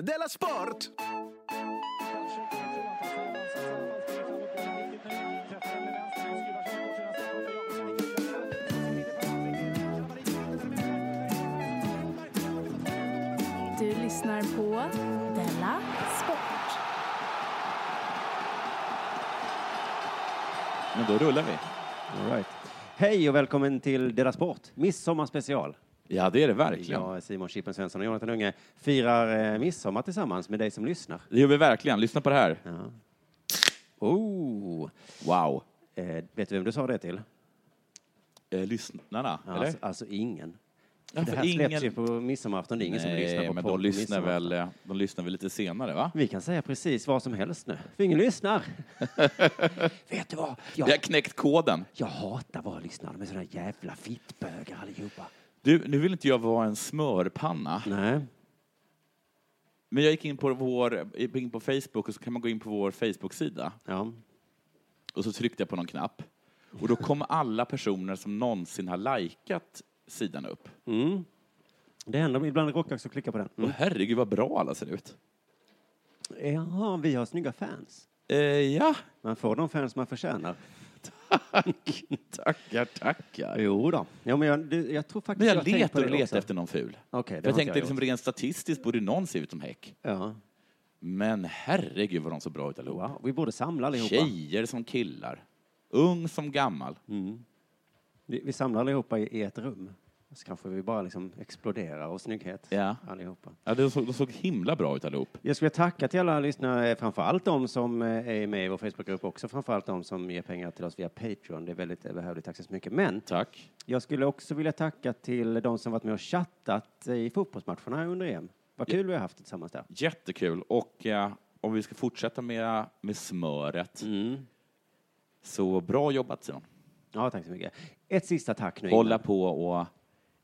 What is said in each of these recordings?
Della Sport! Du lyssnar på Della Sport. Men då rullar vi. All right. Hej och välkommen till Dela Sport, midsommarspecial. Ja, det är det verkligen. Jag, Simon Chippen Svensson och Jonathan Unge firar eh, midsommar tillsammans med dig som lyssnar. Det gör vi verkligen. Lyssna på det här. Ja. Oh. Wow. Eh, vet du vem du sa det till? Eh, lyssnarna, Ja, eller? Alltså, alltså ingen. Ja, det för här släpps ingen- ju på midsommarafton, det är ingen som lyssnar alltså. på men podd de på lyssnar, midsommar. väl, eh, de lyssnar väl lite senare, va? Vi kan säga precis vad som helst nu, för ingen lyssnar. vet du vad? Vi har Jag, knäckt koden. jag hatar våra lyssnare, de är såna jävla fittbögar allihopa. Du, nu vill inte jag vara en smörpanna, Nej. men jag gick in på, vår, gick in på Facebook och så kan man gå in på vår Facebook-sida Ja. och så tryckte jag på någon knapp och då kom alla personer som någonsin har likat sidan upp. Mm. Det händer ibland råkar jag också klicka på den. Åh herregud vad bra alla ser ut. Mm. Jaha, vi har snygga fans. Eh, ja, Man får de fans man förtjänar. tack. tackar, tackar. Jo då. Ja, men jag, det, jag tror Men faktiskt jag, har tänkt på letar och det letar också. efter någon ful. Okej, det För jag har inte tänkte jag liksom rent statistiskt borde någon se ut som häck. Ja. Men herregud vad de såg bra ut allihopa. Wow. Vi borde samla allihopa. Tjejer som killar. Ung som gammal. Mm. Vi, vi samlar allihopa i, i ett rum. Så kanske vi bara liksom exploderar av snygghet. Ja. Allihopa. Ja, de, såg, de såg himla bra ut allihop. Jag skulle tacka till alla lyssnare, framförallt de som eh, är med i vår Facebookgrupp också, framförallt de som ger pengar till oss via Patreon. Det är väldigt eh, behövligt, tack så mycket. Men Tack. jag skulle också vilja tacka till de som varit med och chattat eh, i fotbollsmatcherna under EM. Vad kul vi har haft tillsammans där. Jättekul. Och eh, om vi ska fortsätta med, med smöret. Mm. Så bra jobbat Simon. Ja, tack så mycket. Ett sista tack nu. Hålla på och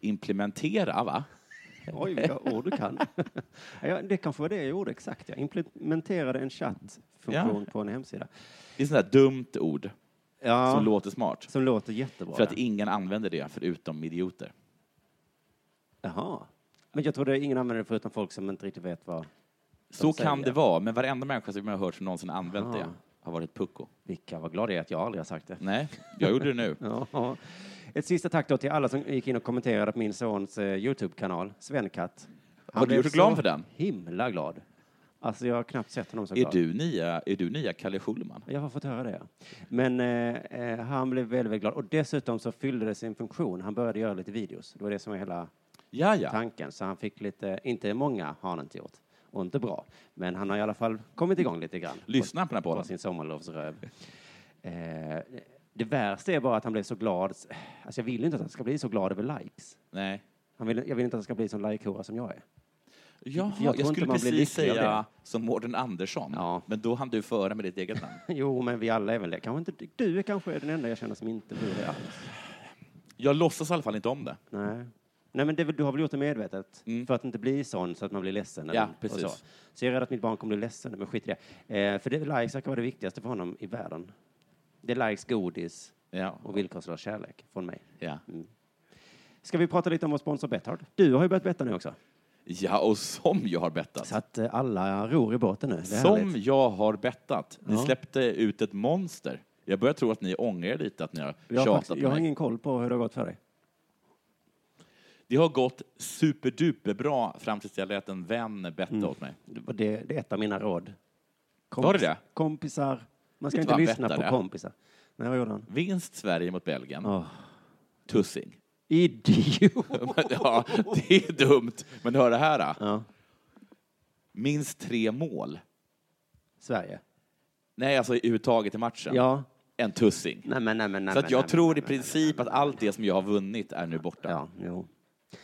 implementera va? innan. Oj, vilka ord du kan. ja, det kanske var det jag gjorde, exakt. Jag implementerade en chattfunktion på en hemsida. Det är sånt där dumt ord Ja, som låter smart. som låter jättebra. För att ingen använder det förutom idioter. Jaha. Men jag trodde ingen använde det förutom folk som inte riktigt vet vad... Så säger kan det det. vara, men varenda människa som jag har hört som någonsin har använt det har varit ett pucko. Vilka, vad glad jag är att jag aldrig har sagt det. Nej, jag gjorde det nu. Ja. Ett sista tack då till alla som gick in och kommenterade på min sons eh, Youtube-kanal, Svenkatt. Han Har du blev gjort reklam för den? himla glad. Alltså jag har knappt sett honom så Är glad. du nya, är du nya Kalle Schulman? Jag har fått höra det. ja. Men eh, eh, han blev väldigt, väldigt glad. Och dessutom så fyllde det sin funktion. Han började göra lite videos. Det var det som var hela Ja, ja. tanken. Så han fick lite, inte många har han inte gjort. Och inte bra. Men han har i alla fall kommit igång lite grann. Lyssna på den här På, på podden. sin sommarlovsröv. eh, det värsta är bara att han blev så glad. Alltså jag vill inte att han ska bli så glad över likes. Nej. Han vill, jag vill inte att han ska bli sån like-hora som jag är. Jaha, tror jag, inte skulle man blir precis lycklig av säga som Mårten Andersson, Ja. men då hann du före med ditt eget namn. jo, men vi alla är väl det. Kanske inte, du är kanske den enda jag känner som inte blir det alls. Jag låtsas i alla fall inte om det. Nej. Nej, men det, är väl- du har väl gjort det medvetet? Mm. För att inte bli sån så att man blir ledsen? Ja, eller- och precis. Så. så jag är rädd att mitt barn kommer bli ledsen, men skit i det. Eh, för det, likes verkar vara det viktigaste för honom i världen. Det är likes, godis Ja. och villkorslös kärlek från mig. Ja. Ska vi prata lite om vår sponsor Betthard? Du har ju börjat betta nu också. ja, och som jag har bettat. Så att eh, alla ror i båten nu. Det är Som härligt. jag har bettat. Ni Ja. släppte ut ett monster. Jag börjar tro att ni ångrar er lite att ni har jag, har tjatat faktiskt, på jag har mig. ingen koll på hur det har gått för dig. Det har gått superduperbra fram tills jag lät en vän betta Mm. åt mig. Det, det, det är ett av mina råd. Var det det? Kompisar. Man Vet ska du inte vad han lyssna på bettade? kompisar. Nej, vad gjorde han? Vinst Sverige mot Belgien. Åh, Tussing. Idiot! ja, det är dumt. Men hör det här. Då. Ja. Minst tre mål. Sverige. Nej, alltså i uttaget i matchen. Ja. En tussing. Nej, men, nej, men, nej, Så att men, jag nej, tror men, i nej, princip att allt det som jag har vunnit är nu borta. men. Ja, jo.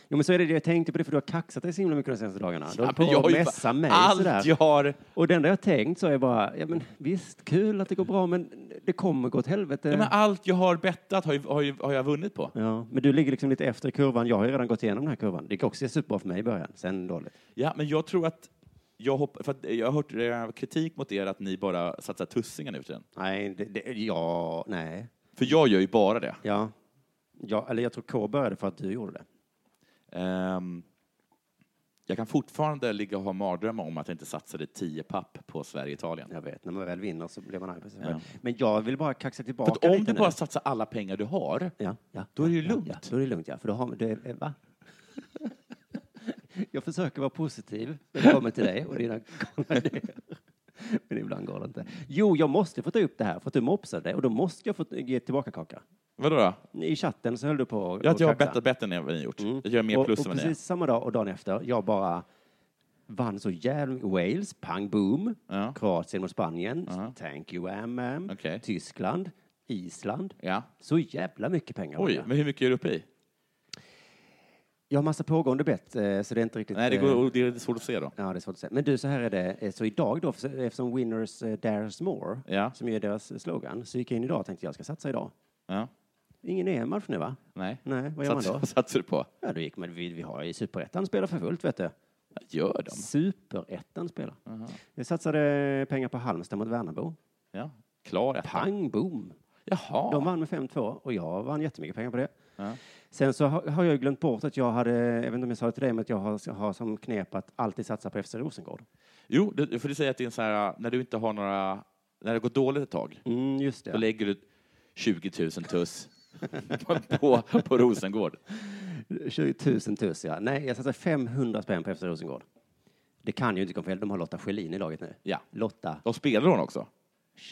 Jo, men så är det det jag tänkte på det, för du har kaxat dig så himla mycket de senaste dagarna. Du har men på att har ju mässa fan- mig sådär. allt jag har... Och det enda jag tänkt så är bara, ja men visst, kul att det går bra, men det kommer gå åt helvete. Ja, men allt jag har bettat har, ju, har, ju, har jag vunnit på. Ja, men du ligger liksom lite efter i kurvan. Jag har ju redan gått igenom den här kurvan. Det gick också superbra för mig i början, sen dåligt. Ja, men jag tror att... Jag, hopp, för att jag har hört eh, kritik mot er att ni bara satsar tussingen nu för tiden. Nej, det, det, ja, nej. För jag gör ju bara det. Ja. ja. Eller jag tror K började för att du gjorde det. Ehm, Jag kan fortfarande ligga och ha mardrömmar om att jag inte satsade 10 papp på Sverige-Italien. Jag vet, när man väl vinner så blir man arg på sig Ja. själv. Men jag vill bara kaxa För tillbaka att om lite du nu. bara satsar alla pengar du har, Ja, ja, Då är det ju ja, lugnt. Ja, då är det lugnt, ja. För då har man, det är, eh, va? Jag försöker vara positiv när det kommer till dig och dina galna idéer. Men ibland går det inte. Jo, jag måste få ta upp det här för att du mopsade och då måste jag få ge tillbaka kaka. vadå då? I chatten så höll du på Jag, jag har och kaxa. bettat bättre än vad ni gjort. Mm. Jag gör mer och, plus och än vad ni gör. precis samma dag och dagen efter, jag bara vann så jävla Wales, pang boom. Ja. Kroatien mot Spanien, Aha. thank you am, Okej. Tyskland, Island. Ja. Så jävla mycket pengar. var Oj, det. men hur mycket är du uppe i? Jag har massa pågående bett, eh, så det är inte riktigt... Nej, det, eh, går, det är svårt att se då. Ja, det är svårt att säga. Men du, så här är det. Eh, Så idag då, eftersom Winners eh, Dares More, Ja. som är deras eh, slogan, så gick jag in idag och tänkte jag ska satsa idag. Ja. Ingen EM-match nu, va? Nej. Nej, Mm, vad gör man då? Sats- satsar du på? Ja, det gick men vi, vi har ju Superettan spelar för fullt, vet du. Ja, Gör de? Superettan spelar. Aha. Jag satsade pengar på Halmstad mot Värnamo. Ja. Klar etta. Pang, boom! Jaha. De vann med 5-2 och jag vann jättemycket pengar på det. Ja. Sen så har har jag ju glömt bort att jag hade, jag vet inte om jag sa det till dig, men att jag har, har som knep att alltid satsa på FC Rosengård. Jo, du, för du säger att det är en så här, när du inte har några, när det går dåligt ett tag, Mm, just då det. lägger du 20 000 tuss på, på Rosengård. 20 000 tus, ja. Nej, jag satsar 500 spänn på FC Rosengård. Det kan ju inte gå fel. De har Lotta Schelin i laget nu. Ja. Lotta De spelar hon också?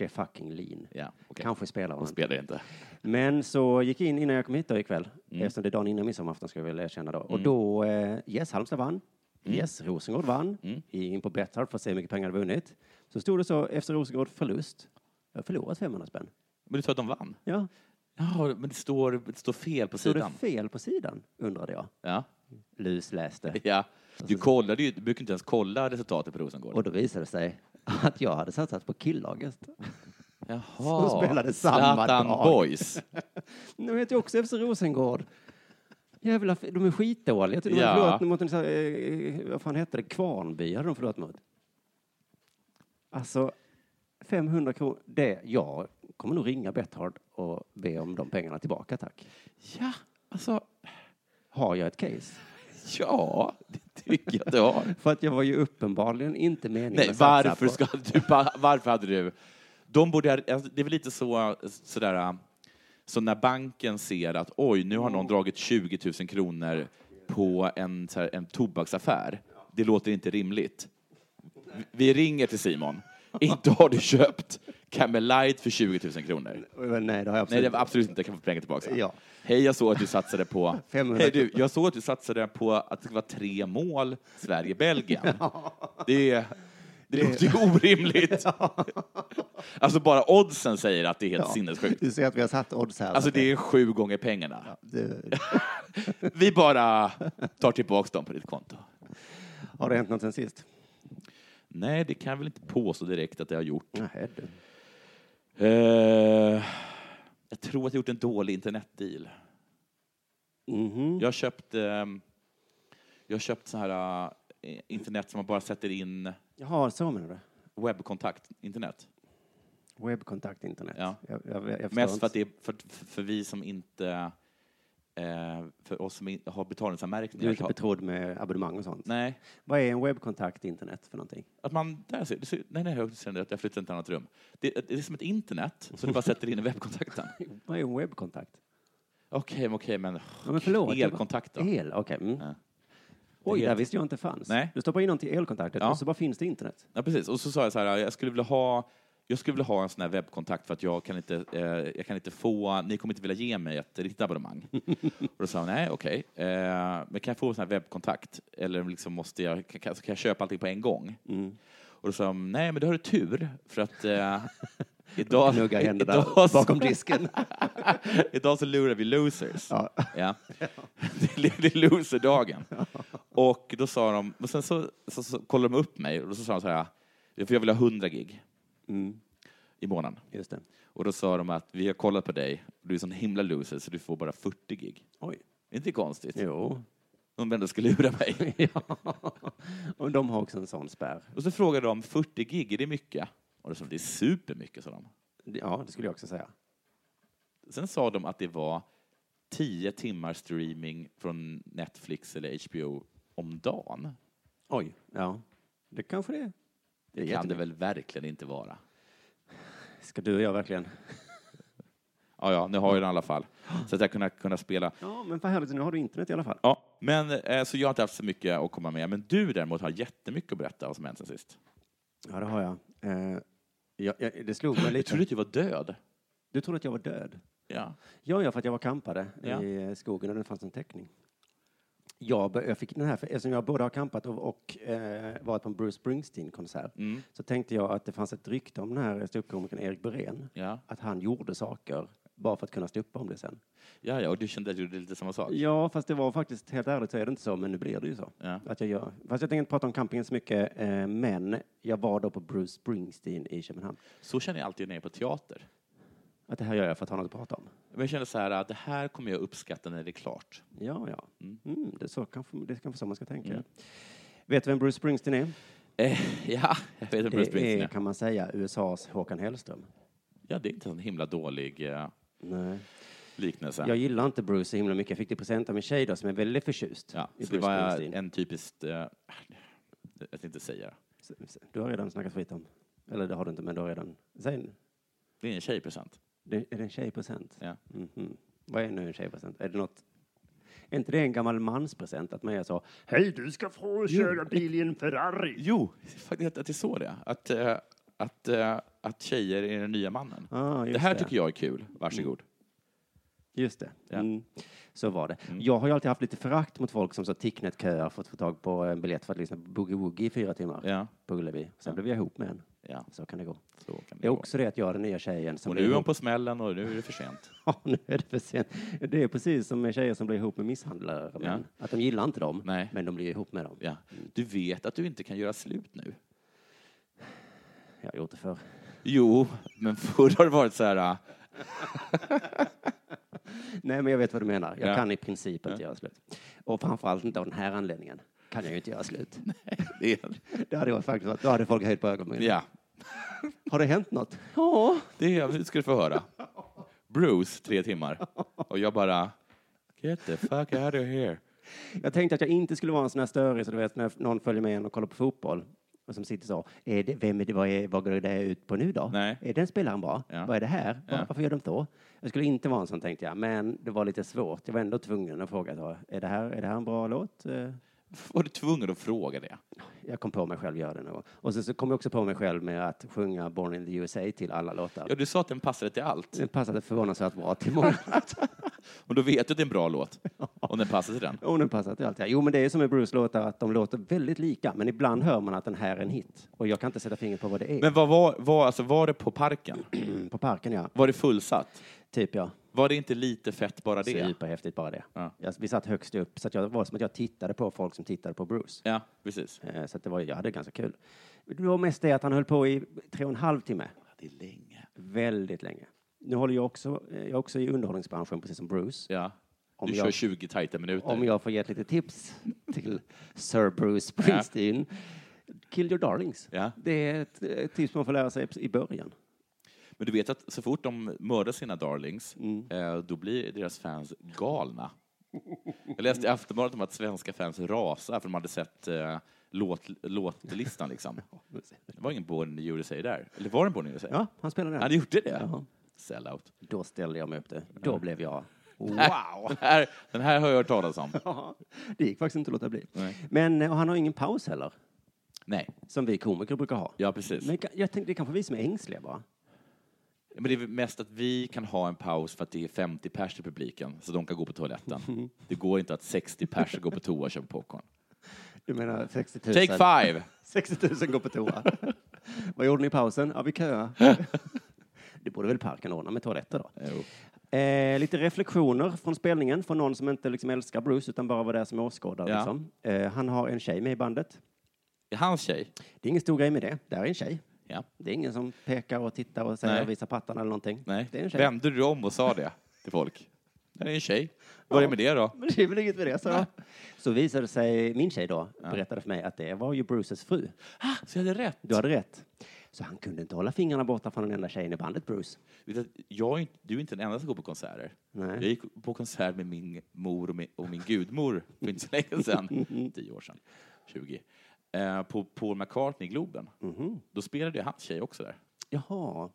fucking lin Ja, okej. Kanske spelar hon. Hon spelar inte. Men så gick jag in innan jag kom hit då ikväll, Mm. eftersom det är dagen innan midsommarafton ska jag väl erkänna då. Och då, eh, yes, Halmstad vann. Mm. Yes, Rosengård vann. Gick in på Betthard för att se hur mycket pengar de vunnit. Så stod det så, efter Rosengård förlust. Jag har förlorat 500 spänn. Men du sa att de vann? Ja, Ja, men det står, det står fel på stod det sidan. fel på sidan, undrade jag. Ja. Lusläste. ja. Du, kollade ju, du brukar inte ens kolla resultatet på Rosengård. Och då visade det sig att jag hade satsat på killlaget. Jaha. Som spelade samma Zlatan dag. Boys. Nu heter jag också FC Rosengård. Jävla, f- de är skitdåliga. Jag tror de Ja. har förlorat mot en, sån här, eh, vad fan hette det, Kvarnby hade de förlorat mot. Alltså, 500 kronor, det, jag kommer nog ringa Betthard och be om de pengarna tillbaka, tack. Ja, alltså. Har jag ett case? Ja, det tycker jag att du har. För att jag var ju uppenbarligen inte meningen Nej, att satsa varför, på- ska du, bara- varför hade du... De borde, ha- alltså, det är väl lite så, sådär, så när banken ser att oj, nu har någon dragit 20 000 kronor på en, så här, en tobaksaffär. Det låter inte rimligt. Vi- Vi ringer till Simon. Inte har du köpt Camel Light för 20 000 kronor. Nej, det har jag Nej, absolut det var absolut inte. Jag kan få pengar tillbaka. Ja. Hej, jag såg att du satsade på... 500. Hej, du, jag såg att du satsade på att det skulle vara tre mål Sverige-Belgien. Det, det, låter ju orimligt. Alltså, bara oddsen säger att det är helt sinnessjukt. Du ser att vi har satt odds här. Alltså, det är sju gånger pengarna. Du, Vi bara tar tillbaka dem på ditt konto. har det hänt något sen sist? Nej, det kan jag väl inte påstå direkt att jag har gjort. Nej, du. Eh, jag tror att jag gjort en dålig internetdeal. Mhm. Jag har köpt, ehm, jag har köpt så här eh, internet som man bara sätter in Jaha, så menar du? webbkontakt, internet. Webbkontakt internet. Ja. Jag, jag, jag förstår Mest inte. för att det är för, för vi som inte, eh, för oss som in, har betalningsanmärkningar. Du är inte har- betrodd med abonnemang och sånt? Nej, Vad är en webbkontakt internet för någonting? att man, där ser, det ser, nej, nej, jag ser det, jag flyttar till ett annat rum. Det, det är som ett internet, så du bara sätter in i webbkontakten. Vad är en webbkontakt? Okej, men okej, men, Ja, men förlåt. jag bara- elkontakt då? El, okej. Mm. Ja. Oj, Det det är här helt- visste jag inte fanns. Nej. Du stoppar in någonting i elkontakten Ja. och så bara finns det internet. Ja, precis. Och så sa jag så här, jag skulle vilja ha, jag skulle vilja ha en sån här webbkontakt för att jag kan inte, eh, jag kan inte få, ni kommer inte vilja ge mig ett riktigt abonnemang. och då sa hon, nej okej, eh, men kan jag få en sån här webbkontakt? Eller liksom måste jag, kan, kan kan jag köpa allting på en gång? Och då sa hon, nej men då har du tur för att eh, idag, Gnugga händerna idag, så, bakom disken. idag så lurar vi losers. ja. Ja. det är loserdagen. Och då sa de, och sen så, så, så kollade de upp mig och så sa de så här, för jag vill ha 100 gig Mm, i månaden. just det. Och då sa de att vi har kollat på dig, du är sån himla loser så du får bara 40 gig. Oj. Det är inte konstigt. Jo. De ändå ska lura mig. ja. Och de har också en sån spärr. Och så frågade de, 40 gig, är det mycket? Och då sa de, det är supermycket, sa de. Ja, det skulle jag också säga. Sen sa de att det var 10 timmar streaming från Netflix eller HBO om dagen. Oj. Ja, det kanske det är. Det är kan det jättemycket. väl verkligen inte vara. Ska du och jag verkligen? Ja, ja, nu har jag den i alla fall. Så att jag kunna, kunna spela. Ja, men vad härligt. Nu har du internet i alla fall. Ja, men, eh, så jag har inte haft så mycket att komma med. Men du däremot har jättemycket att berätta vad som hänt sen sist. Ja, det har jag. Eh, jag, jag det slog mig Jag lite. trodde att du var död. Du trodde att jag var död? Ja. Ja, ja, för att jag var kampare Ja. i eh, skogen och det fanns en täckning. Jag, bör- jag fick den här, för- eftersom jag både har kampat och, och eh, varit på en Bruce Springsteen-konsert, mm. så tänkte jag att det fanns ett rykte om den här ståuppkomikern Erik Beren, Ja. att han gjorde saker bara för att kunna stå upp om det sen. Ja, ja, och du kände att du gjorde lite samma sak? Ja, fast det var faktiskt, helt ärligt så är det inte så, men nu blir det ju så. Ja. Att jag gör. Fast jag tänker inte prata om campingen så mycket, eh, men jag var då på Bruce Springsteen i Köpenhamn. Så känner jag alltid när jag är på teater. Att det här gör jag för att ha något att prata om. Men jag känner så här, att det här kommer jag uppskatta när det är klart. Ja, ja. Mm, det, är så kanske, det är kanske så man ska tänka. Mm. Vet du vem Bruce Springsteen är? Eh, ja, jag vet inte Bruce det är, Springsteen. är. kan man säga, USAs Håkan Hellström. Ja, det är inte en himla dålig eh, Nej. liknelse. Jag gillar inte Bruce så himla mycket. Jag fick det i present av min tjej då, som är väldigt förtjust ja, i så det Bruce var Springsteen. en typiskt... Eh, jag tänkte inte säga det. Du har redan snackat skit om... Eller det har du inte, men du har redan... Säg, Det är en tjejpresent. det, är det en tjejpresent? Ja. Mhm. Vad är nu en tjejpresent? Är det något... Är inte det en gammal manspresent? Att man gör så... Hej, du ska få köra bil i en Ferrari! Jo, faktiskt att- att det är så det är. Att, eh, att, eh, att tjejer är den nya mannen. Ah, just det Mm. här det. tycker jag är kul. Varsågod. Just det. Ja. Mm. Så var det. Mm. Jag har ju alltid haft lite förakt mot folk som så Ticknet-köar för att få tag på en biljett för att lyssna på Boogie Woogie i fyra timmar Ja. på Ullevi. Sen blev jag ihop med en. Ja, Så kan det gå. så kan det Det är gå. också det att jag är den nya tjejen som Och blir nu är hon ihop. på smällen och nu är det för sent. Ja, nu är det för sent. Det är precis som med tjejer som blir ihop med misshandlare. Men Att de gillar inte dem, Nej. men de blir ihop med dem. Ja. Du vet att du inte kan göra slut nu. Jag har gjort det förr. Jo, men förr har det varit så här... äh, Nej, men jag vet vad du menar. Jag Ja. kan i princip inte göra slut. Och framförallt inte av den här anledningen kan jag ju inte göra slut. det är- Det hade varit faktiskt varit- då hade folk höjt på ögonbrynen. Ja, Har det hänt något? Ja. det är- ska du få höra. Bruce, tre timmar. Och jag bara... Get the fuck out of here. Jag tänkte att jag inte skulle vara en sån här störig, så du vet när någon följer med en och kollar på fotboll och som sitter så. Är det, vem är det, vad, är, vad går det här ut på nu då? Nej. Är den spelaren bra? Ja. Vad är det här? Var, Ja. Varför gör de så? Jag skulle inte vara en sån tänkte jag, men det var lite svårt. Jag var ändå tvungen att fråga. Då, är, det här, är det här en bra låt? Eh, Var du tvungen att fråga det? Jag kom på mig själv göra det någon gång. Och sen så kom jag också på mig själv med att sjunga Born in the USA till alla låtar. Ja, du sa att den passade till allt. Det passade förvånansvärt bra till många låtar. Och då vet du att det är en bra låt. Om den passar till den. Jo, den passar till allt. ja. Jo, men det är som med Bruce-låtar, att de låter väldigt lika, men ibland hör man att den här är en hit. Och jag kan inte sätta fingret på vad det är. Men vad var, var, alltså, var det på parken? Mm, på parken, ja. Var det fullsatt? Typ. Typ, ja. Var det inte lite fett bara det? Superhäftigt bara det. Ja. Jag, vi satt högst upp, så att jag, det var som att jag tittade på folk som tittade på Bruce. Ja, precis. Eh, Så att det var, jag hade ganska kul. Det var mest det att han höll på i tre och en halv timme. Det är länge. Väldigt länge. Nu håller jag också, eh, jag är också i underhållningsbranschen, precis som Bruce. Ja. Om du jag- kör 20 tajta minuter. Om jag får ge ett litet tips till Sir Bruce Springsteen. Kill your darlings. Ja. Det är ett eh, tips man får lära sig i början. Men du vet att så fort de mördar sina darlings, eh, då blir deras fans galna. Jag läste i Aftonbladet om att svenska fans rasar för de hade sett eh, låt, låtlistan. Liksom. Det var ingen Born in the USA där. Eller var det en Born in the USA? Ja, han spelar den. Han gjorde det? Ja. Sellout. Då ställde jag mig upp det. Då blev jag... Wow! Här, den här har jag hört talas om. Ja, det gick faktiskt inte att låta bli. Nej. Men eh, och han har ingen paus heller, Nej, som vi komiker brukar ha. ja precis. Men ka- jag tänkte, det är kanske vi som är ängsliga bara. Men det är väl mest att vi kan ha en paus för att det är 50 pers i publiken, så de kan gå på toaletten. Det går inte att 60 pers går på toa och köper popcorn. Du menar 60 000? Take five! 60 000 går på toa. Vad gjorde ni i pausen? Ja, vi köade. det borde väl parken ordna med toaletter då? Jo. Eh, lite reflektioner från spelningen, från någon som inte liksom älskar Bruce utan bara var där som åskådare. Ja. Liksom. Eh, han har en tjej med i bandet. Det är hans tjej. Det är ingen stor grej med det. Där är en tjej. Ja. Det är ingen som pekar och tittar och säger Nej. visar pattarna eller någonting. Nej. Det är en tjej. Vände du om och sa det till folk? Det är en tjej. Vad är det med det då? Men det är väl inget med det, så. Så visade sig, min tjej då, berättade för mig att det var ju Bruces fru. Ah, så jag hade rätt. Du hade rätt. Så han kunde inte hålla fingrarna borta från den enda tjejen i bandet, Bruce. Vet du att Jag är, inte- du är inte den enda som går på konserter. Nej. Jag gick på konsert med min mor och min, och min gudmor för inte så länge sedan. 10 år sedan. 20. eh, på Paul McCartney-Globen. Mhm. Då spelade ju hans tjej också där. Jaha.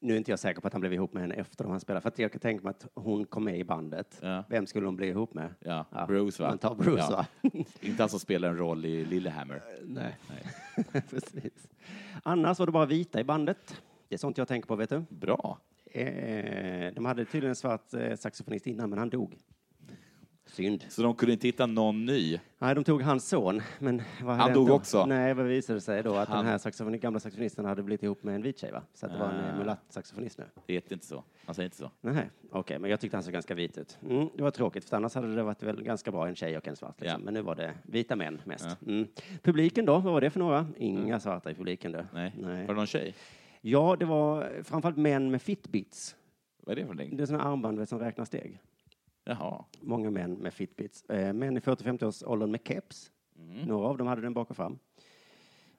Nu är inte jag säker på att han blev ihop med henne efter de han spelade, för att jag kan tänka mig att hon kom med i bandet. Ja. Vem skulle hon bli ihop med? Ja, Bruce va? Man tar Bruce Ja. va? Eh, Inte han som spelar en roll i Lillehammer. Nej. Precis. Annars var det bara vita i bandet. Det är sånt jag tänker på, vet du. Bra. Eh, de hade tydligen en svart eh, saxofonist innan, men han dog. Synd. Så de kunde inte hitta någon ny. Nej, de tog hans son, men vad hade Han hänt dog då? också. Nej, vad visade det sig då? Att Han- den här saxofon, gamla saxofonisten hade blivit ihop med en vit tjej, va? Så att det var en Ah. eh, mulatt-saxofonist nu. Det heter inte så. Han säger inte så. Nej, okej, men jag tyckte han såg ganska vit ut. Mm, det var tråkigt, för annars hade det varit väl ganska bra en tjej och en svart. Liksom. Ja. Men nu var det vita män mest. Mm. Publiken då, vad var det för några? Inga svarta i publiken då. Mm. Nej. Var det någon tjej? Ja, det var framförallt män med fitbits. Vad är det för någonting? Det är sådana armband vet, som räknar steg. Jaha. Många män med fitbits. Eh, män i 40-50-årsåldern med keps. Några av dem hade den bak och fram.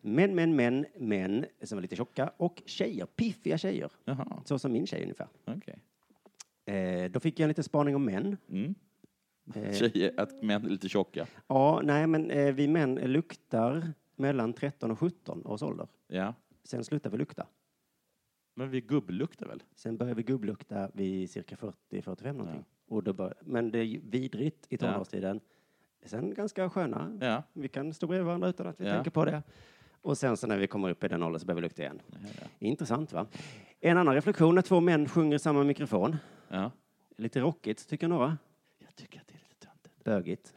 Män, män, män, män som var lite tjocka och tjejer, piffiga tjejer. Jaha. Så som min tjej ungefär. Okej. Eh, då fick jag en liten spaning om män. Eh. Tjejer, att män är lite tjocka. Ja, nej, men eh, vi män luktar mellan 13 och 17 års ålder. Ja. Sen slutar vi lukta. Men vi gubbluktar väl? Sen börjar vi gubblukta vid cirka 40-45 någonting. Och då bör, men det är ju vidrigt i tonårstiden. Sen ganska sköna. Ja. Vi kan stå bredvid varandra utan att vi Ja. tänker på det. Och sen så när vi kommer upp i den åldern så börjar vi lukta igen. Intressant va? En annan reflektion när två män sjunger i samma mikrofon. Ja. Lite rockigt tycker några. Jag tycker att det är lite töntigt. Bögigt.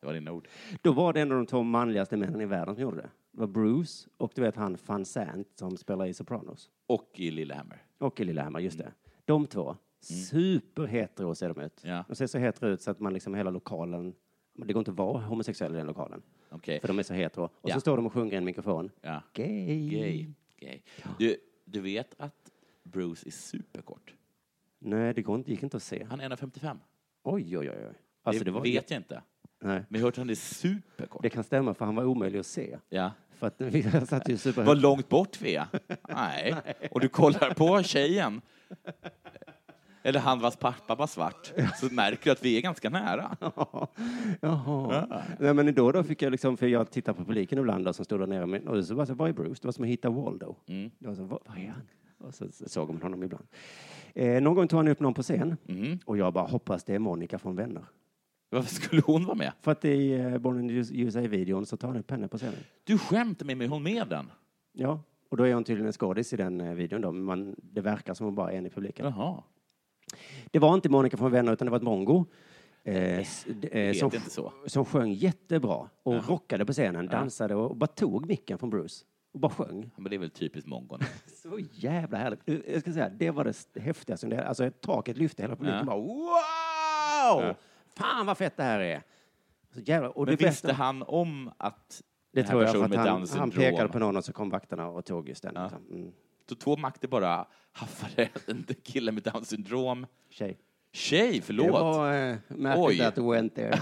Det var dina ord. Då var det en av de två manligaste männen i världen som gjorde det. Det var Bruce och du vet han Van Sant som spelar i Sopranos. Och i Lillehammer. Och i Lillehammer, just Mm. det. De två. Superhetero ser de ut. Ja. De ser så hetero ut så att man liksom hela lokalen, det går inte att vara homosexuell i den lokalen. Okej. För de är så hetero. Och Ja. så står de och sjunger i en mikrofon. Ja. Gay. Gay. Gay. Du, du vet att Bruce är superkort? Nej, det går inte, gick inte att se. Han är 1,55. Oj, oj, oj. oj. Alltså, det, var, vet jag inte. nej. Men jag har hört att han är superkort. det kan stämma för han var omöjlig att se. Ja. För att vi satt ju super... Vad långt bort vi är? Nej. Och du kollar på tjejen, eller han vars pappa var svart, så märker du att vi är ganska nära. Jaha. Ah. Nej, men då och då fick jag liksom, för jag tittar på publiken ibland då, som stod där nere men- och så var det var är Bruce? Det var som att hitta Waldo. Mm. Det var så, vad, vad är han? Och så så såg man honom ibland. Eh, någon gång tog han upp någon på scen Mm. och jag bara hoppas det är Monica från Vänner. Varför skulle hon vara med? För att i eh, Born in the USA-videon så tar han upp henne på scenen. Du skämtar med mig, är hon med den? Ja, och då är hon tydligen en skådis i den eh, videon då, men man, det verkar som hon bara är en i publiken. Jaha. Det var inte Monica från Vänner utan det var ett mongo. Eh, s- d- eh, heter som, inte så. som sjöng jättebra och rockade på scenen, dansade och, och bara tog micken från Bruce och bara sjöng. Men det är väl typiskt mongon. Så jävla härligt. Du, Jag ska säga, det var det s- häftigaste. Det- Alltså taket lyfte, hela publiken bara wow! Fan vad fett det här är! Så jävla, och Men det bästa, visste han om att det den här tror jag, för personen att med han, Downs han syndrom... pekade på någon och så kom vakterna och tog just den. Liksom. Mm. Så två makter bara haffade en kille med Downs syndrom. Tjej. Tjej, förlåt! Det var eh, märkligt Oj. att du went there.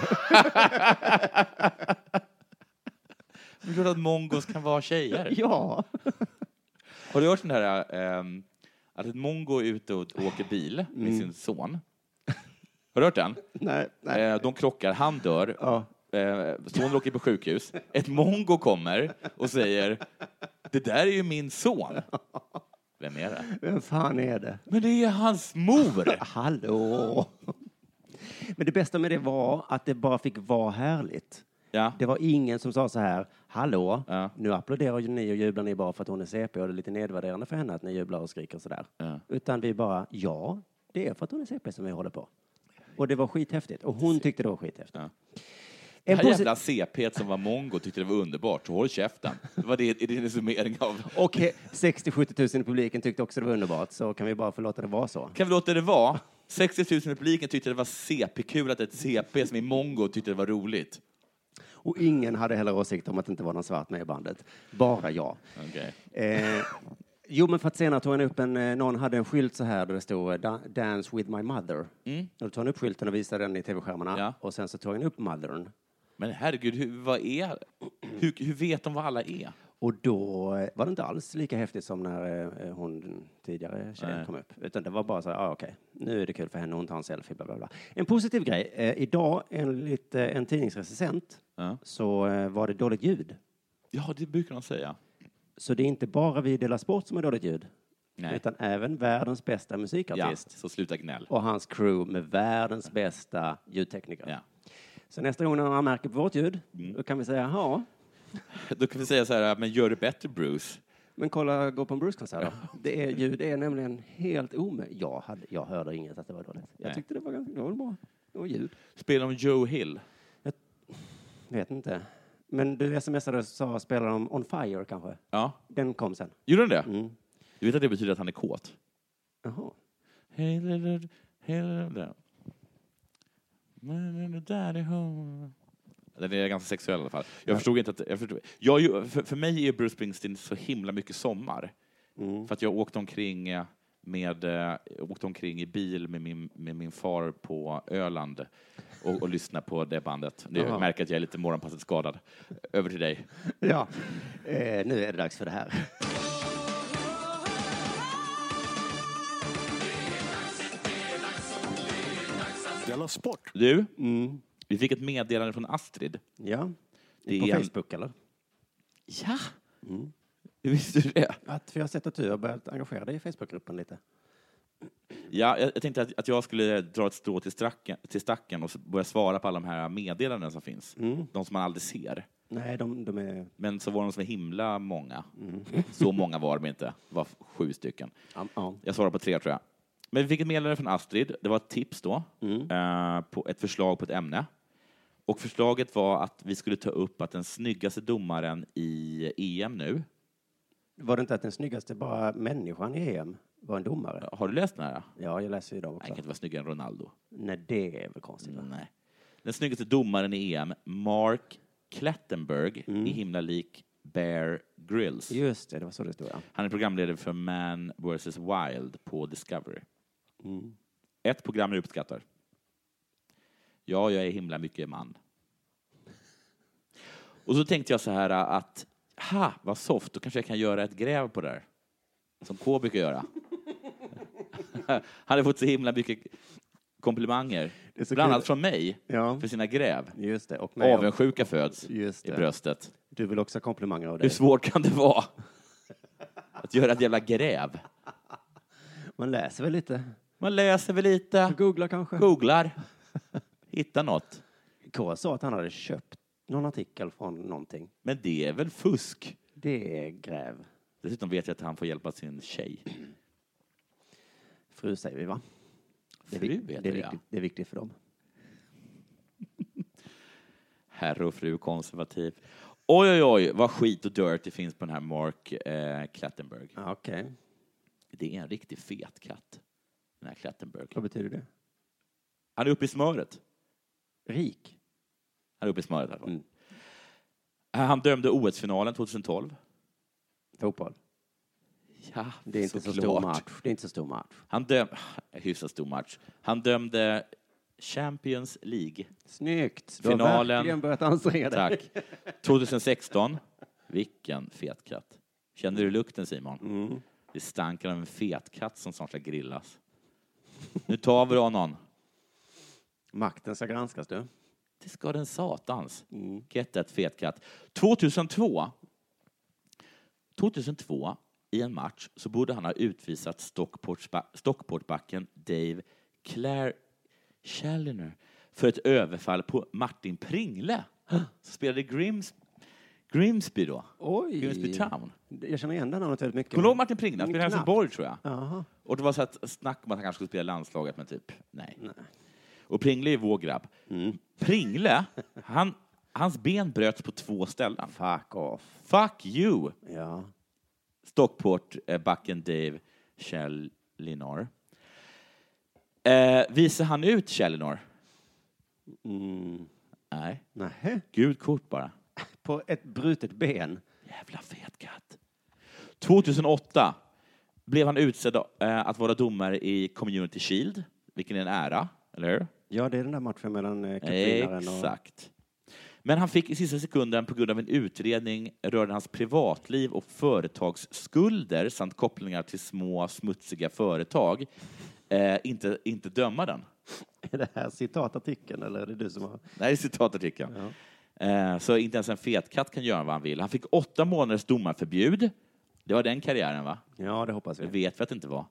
Det är klart att mongos kan vara tjejer. ja! Har du hört den här ehm, att ett mongo är ute och åker bil med Mm. sin son? Har du hört den? Nej, nej. Eh, de krockar, han dör. Ja. Eh, sonen åker på sjukhus. Ett mongo kommer och säger Det där är ju min son. Vem är det? Vem fan är det? Ah, Men det är hans mor! Hallå! Men det bästa med det var att det bara fick vara härligt. Ja. Det var ingen som sa så här, hallå, Ja. nu applåderar ju ni och jublar ni bara för att hon är CP och det är lite nedvärderande för henne att ni jublar och skriker så där. Ja. Utan vi bara, ja, det är för att hon är CP som vi håller på. Och det var skithäftigt. Och hon tyckte det var skithäftigt. Ja. En Det här posi- jävla CP som var mongo tyckte det var underbart, så håll käften. Det var det, är det en summering av... Och he- 60-70 000 i publiken tyckte också det var underbart, så kan vi bara förlåta det vara så. Kan vi låta det vara? 60 000 i publiken tyckte det var CP-kul att ett CP som är mongo tyckte det var roligt. Och ingen hade heller åsikt om att det inte var någon svart med i bandet. Bara jag. Okej. Eh, jo, men för att senare tog han upp en, eh, någon hade en skylt så här där det stod eh, da- Dance with my mother. Och då tog han upp skylten och visade den i tv-skärmarna Mm. Ja. och sen så tog han upp mothern. Men herregud, hur, vad är... Hur, hur vet de vad alla är? Och då eh, var det inte alls lika häftigt som när eh, eh, hon den tidigare tjejen Nej. kom upp. Utan det var bara så här, ah, okej, nu är det kul för henne, hon tar en selfie, bla bla bla. En positiv grej, eh, idag enligt eh, en tidningsrecensent Ja. så eh, var det dåligt ljud. ja, det brukar de säga. Så det är inte bara vi i Dela Sport som har dåligt ljud. Nej. Utan även världens bästa Ja, musikartist. så sluta gnäll. Och hans crew med världens bästa ljudtekniker. Ja. Så nästa gång när han märker på vårt ljud, då kan vi säga, ja, Då kan vi säga så här, men gör det bättre Bruce. men kolla, gå på en Bruce-konsert då. Det är, ljud är nämligen helt omöjligt. Jag, hade, jag hörde inget att det var dåligt. Jag Nej. tyckte det var ganska det var bra. Det var ljud. Spelar de Joe Hill? Vet inte. Men du smsade och sa, spelar de On Fire kanske? Ja. Den kom sen. Gjorde de det? Mm. Du vet att det betyder att han är kåt? Jaha. Hey little, hey little, little daddy home. Den är ganska sexuell i alla fall. Jag förstod inte att... Jag förstod, jag, är ju- för, för mig är Bruce Springsteen så himla mycket sommar. För att jag åkte omkring, eh, med, eh, åkte omkring i bil med min, med min far på Öland och, och lyssnade på det bandet. Nu Jaha. märker jag att jag är lite morgonpasset skadad. Över till dig. Ja, eh, nu är det dags för det här. Della Sport! Du, vi fick ett meddelande från Astrid. Ja. Det på är en- Facebook eller? Ja! Hur Mm. visste du det? Att, för jag har sett att du har börjat engagera dig i Facebookgruppen lite. Ja, jag, jag tänkte att, att jag skulle dra ett strå till, stracken, till stacken och s- börja svara på alla de här meddelandena som finns. De som man aldrig ser. Nej, de, de är... Men så var de så himla många. Så många var de inte. Det var sju stycken. Ja, ja. Jag svarar på tre, tror jag. Men vi fick ett meddelande från Astrid. Det var ett tips då, eh, på ett förslag på ett ämne. Och förslaget var att vi skulle ta upp att den snyggaste domaren i EM nu, Var det inte att den snyggaste bara människan i EM var en domare? har du läst den här? Ja, jag läser ju dem Han kan också. inte vara snyggare än Ronaldo. Nej, det är väl konstigt. va? Nej. Den snyggaste domaren i EM, Mark Klettenberg, i himla lik Bear Grylls. Just det, det var så det stod. Ja. Han är programledare för Man vs Wild på Discovery. Mm. Ett program jag uppskattar. Ja, jag är himla mycket man. Och så tänkte jag så här äh, att, ha, vad soft, då kanske jag kan göra ett gräv på det här. Som K brukar göra. Han hade fått så himla mycket komplimanger. Det är så Bland kul. annat från mig, Ja. för sina gräv. Just det, och mig. Avundsjuka föds Just i det. bröstet. Du vill också ha komplimanger av Hur dig. svårt kan det vara? Att göra ett jävla gräv. Man läser väl lite? Man läser väl lite, Googlar kanske? googlar, hittar något. K sa att han hade köpt någon artikel från någonting. Men det är väl fusk? Det är gräv. Dessutom vet jag att han får hjälpa sin tjej. Fru säger vi, va? Det är, Fru vik- det heter är, det, ja. viktigt, det är viktigt för dem. Herr och fru konservativ. Oj, oj, oj, vad skit och dirt det finns på den här Mark eh, Klattenberg. Ja, Okej, Det är en riktig fet katt, den här Klattenberg. vad betyder det? Han är uppe i smöret. Rik. Han är uppe i smöret i alla fall. Mm. Han dömde OS-finalen 2012. Fotboll. Ja, Det är inte så, stor såklart. match. Det är inte så stor match. Han dömde... Hyfsat stor match. Han dömde Champions League. Snyggt! Du har Finalen. verkligen börjat anstränga dig. Tack. 2016. Vilken fet katt. Känner du lukten, Simon? Det är stanken av en fet katt som snart ska grillas. Nu tar vi honom. Makten ska granskas, du. Det ska den satans. Get that fet katt. 2002. 2002, i en match, så borde han ha utvisat Stockportsba- Stockportbacken Dave Claire Challoner för ett överfall på Martin Pringle, som spelade i Grims- Grimsby då. Oj! Grimsby Town. Jag känner igen det namnet väldigt mycket. Kommer du ihåg Martin Pringle? Han spelade i Knappt. Helsingborg, tror jag. Jaha. Och det var så att snack om att han kanske skulle spela i landslaget, men typ nej. Och Pringle är vår grabb. Mm. Pringle, han, hans ben bröts på två ställen. Fuck off. Fuck you, Ja. Stockport, eh, backen Dave Chellinor. Eh, visar han ut Chellinor? Mm. Nej. Nähä. Gult kort bara. På ett brutet ben. Jävla fet katt. 2008 blev han utsedd eh, att vara domare i Community Shield, vilken är en ära, eller hur? Ja, det är den där matchen mellan eh, cupvinnaren och... Exakt. Men han fick i sista sekunden på grund av en utredning rörande hans privatliv och företagsskulder samt kopplingar till små smutsiga företag eh, inte, inte döma den. Är det här citatartikeln eller är det du som har... Det här är citatartikeln. Eh, så inte ens en fetkatt kan göra vad han vill. Han fick åtta månaders domarförbud. Det var den karriären, va? Ja, det hoppas Det vi. vet vi att det inte var.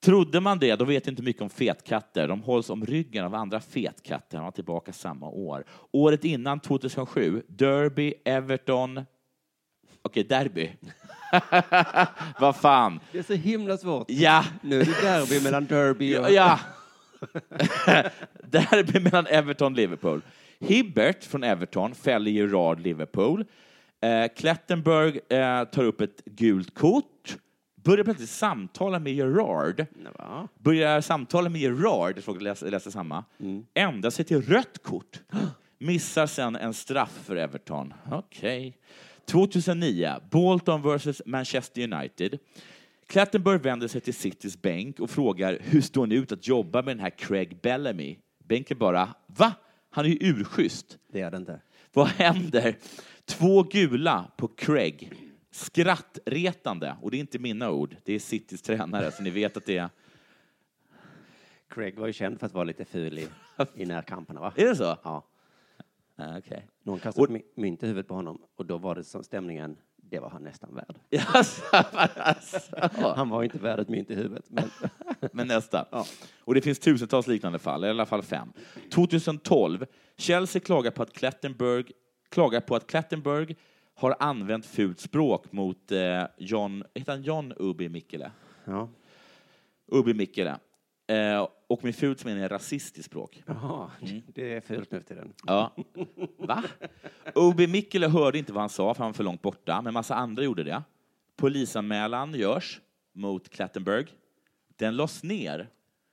Trodde man det, då vet vi inte mycket om fetkatter. De hålls om ryggen av andra fetkatter. Han var tillbaka samma år. Året innan, 2007, Derby, Everton... Okej, Derby. Vad fan. Det är så himla svårt. Ja, Nu är det derby mellan derby och... Ja. Derby mellan Everton och Liverpool. Hibbert från Everton fäller Gerard Liverpool. Eh, Klettenberg eh, tar upp ett gult kort. Börjar plötsligt samtala med Gerard. Va? Börjar samtala med Gerard, jag frågade- läste, läste samma. Ändrar sig till rött kort. Missar sen en straff för Everton. Okej. 2009, Bolton vs Manchester United. Clattenburg vänder sig till Citys bänk och frågar hur står ni ut att jobba med den här Craig Bellamy? Bänken bara, va? Han är ju urschysst. Det är det inte. Vad händer? Två gula på Craig. Skrattretande. Och det är inte mina ord, det är Citys tränare, så ni vet att det är... Craig var ju känd för att vara lite ful i, i närkamperna, va? Är det så? Ja. Ah, Okej. Någon kastade och... mynt i huvudet på honom och då var det som stämningen, det var han nästan värd. Jaså, alltså. Han var inte värd ett mynt i huvudet, men Men nästa. Och det finns tusentals liknande fall, i alla fall fem. 2012. Chelsea klagar på att Klettenberg, klagar på att Klettenberg har använt fult språk mot eh, John, heter han John Ubi Mikkele? ja. Ubi Mikkele. Eh, och med fult så menar jag rasistiskt språk. Jaha, Mm. det är fult nu till den. Ja. Va? Obi Mikkele hörde inte vad han sa, för han var för långt borta, men massa andra gjorde det. Polisanmälan görs mot Klattenberg. Den lades ner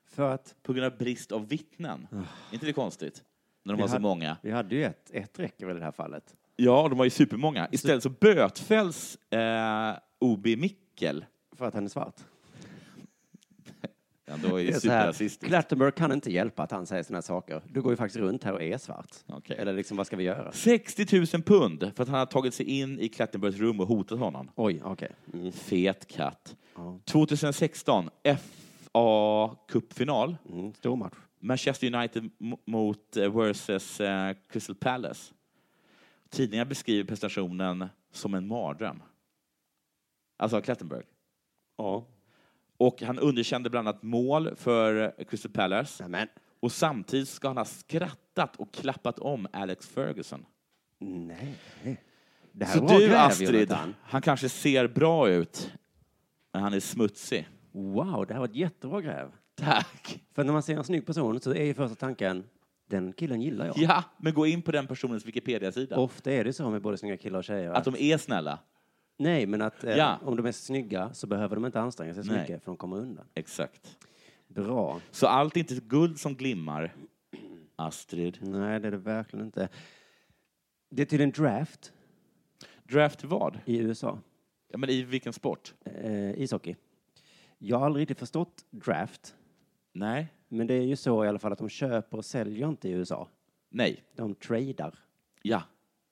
För att på grund av brist av vittnen. inte det konstigt? När de Vi var så hade- många. vi hade ju ett, ett räcker väl i det här fallet. Ja, de var ju supermånga. Istället så bötfälls eh, Obi Mikkel. För att han är svart. Ja, då är det Det är så här, superrasistiskt. Clattenburg kan inte hjälpa att han säger sådana här saker. Du går ju faktiskt runt här och är svart. Okej. Eller liksom, vad ska vi göra? 60 000 pund för att han har tagit sig in i Klattenbergs rum och hotat honom. Oj, okej. Mm. Fet katt. Ja. 2016, fa cupfinal Mm. Stor match. Manchester United m- mot eh, versus eh, Crystal Palace. Tidningar beskriver prestationen som en mardröm. Alltså Klettenberg. Ja. Och han underkände bland annat mål för eh, Crystal Palace. Nämen. Och samtidigt ska han ha skrattat och klappat om Alex Ferguson. Nej. Det här Så var du, gräv, Astrid, Jonathan. han kanske ser bra ut, men han är smutsig. Wow, det här var ett jättebra gräv. Tack! För när man ser en snygg person så är ju första tanken, den killen gillar jag. Ja, men gå in på den personens Wikipedia-sida. Ofta är det så med både snygga killar och tjejer. Att de är snälla. Nej, men att eh, Ja. om de är snygga så behöver de inte anstränga sig så Nej. mycket för de kommer undan. Exakt. Bra. Så allt är inte guld som glimmar, Astrid. Nej, det är det verkligen inte. Det är till en draft Draft vad? i USA. Ja, men I vilken sport? eh, ishockey. Jag har aldrig riktigt förstått draft, Nej. men det är ju så i alla fall att de köper och säljer inte i USA. Nej. De tradar Ja.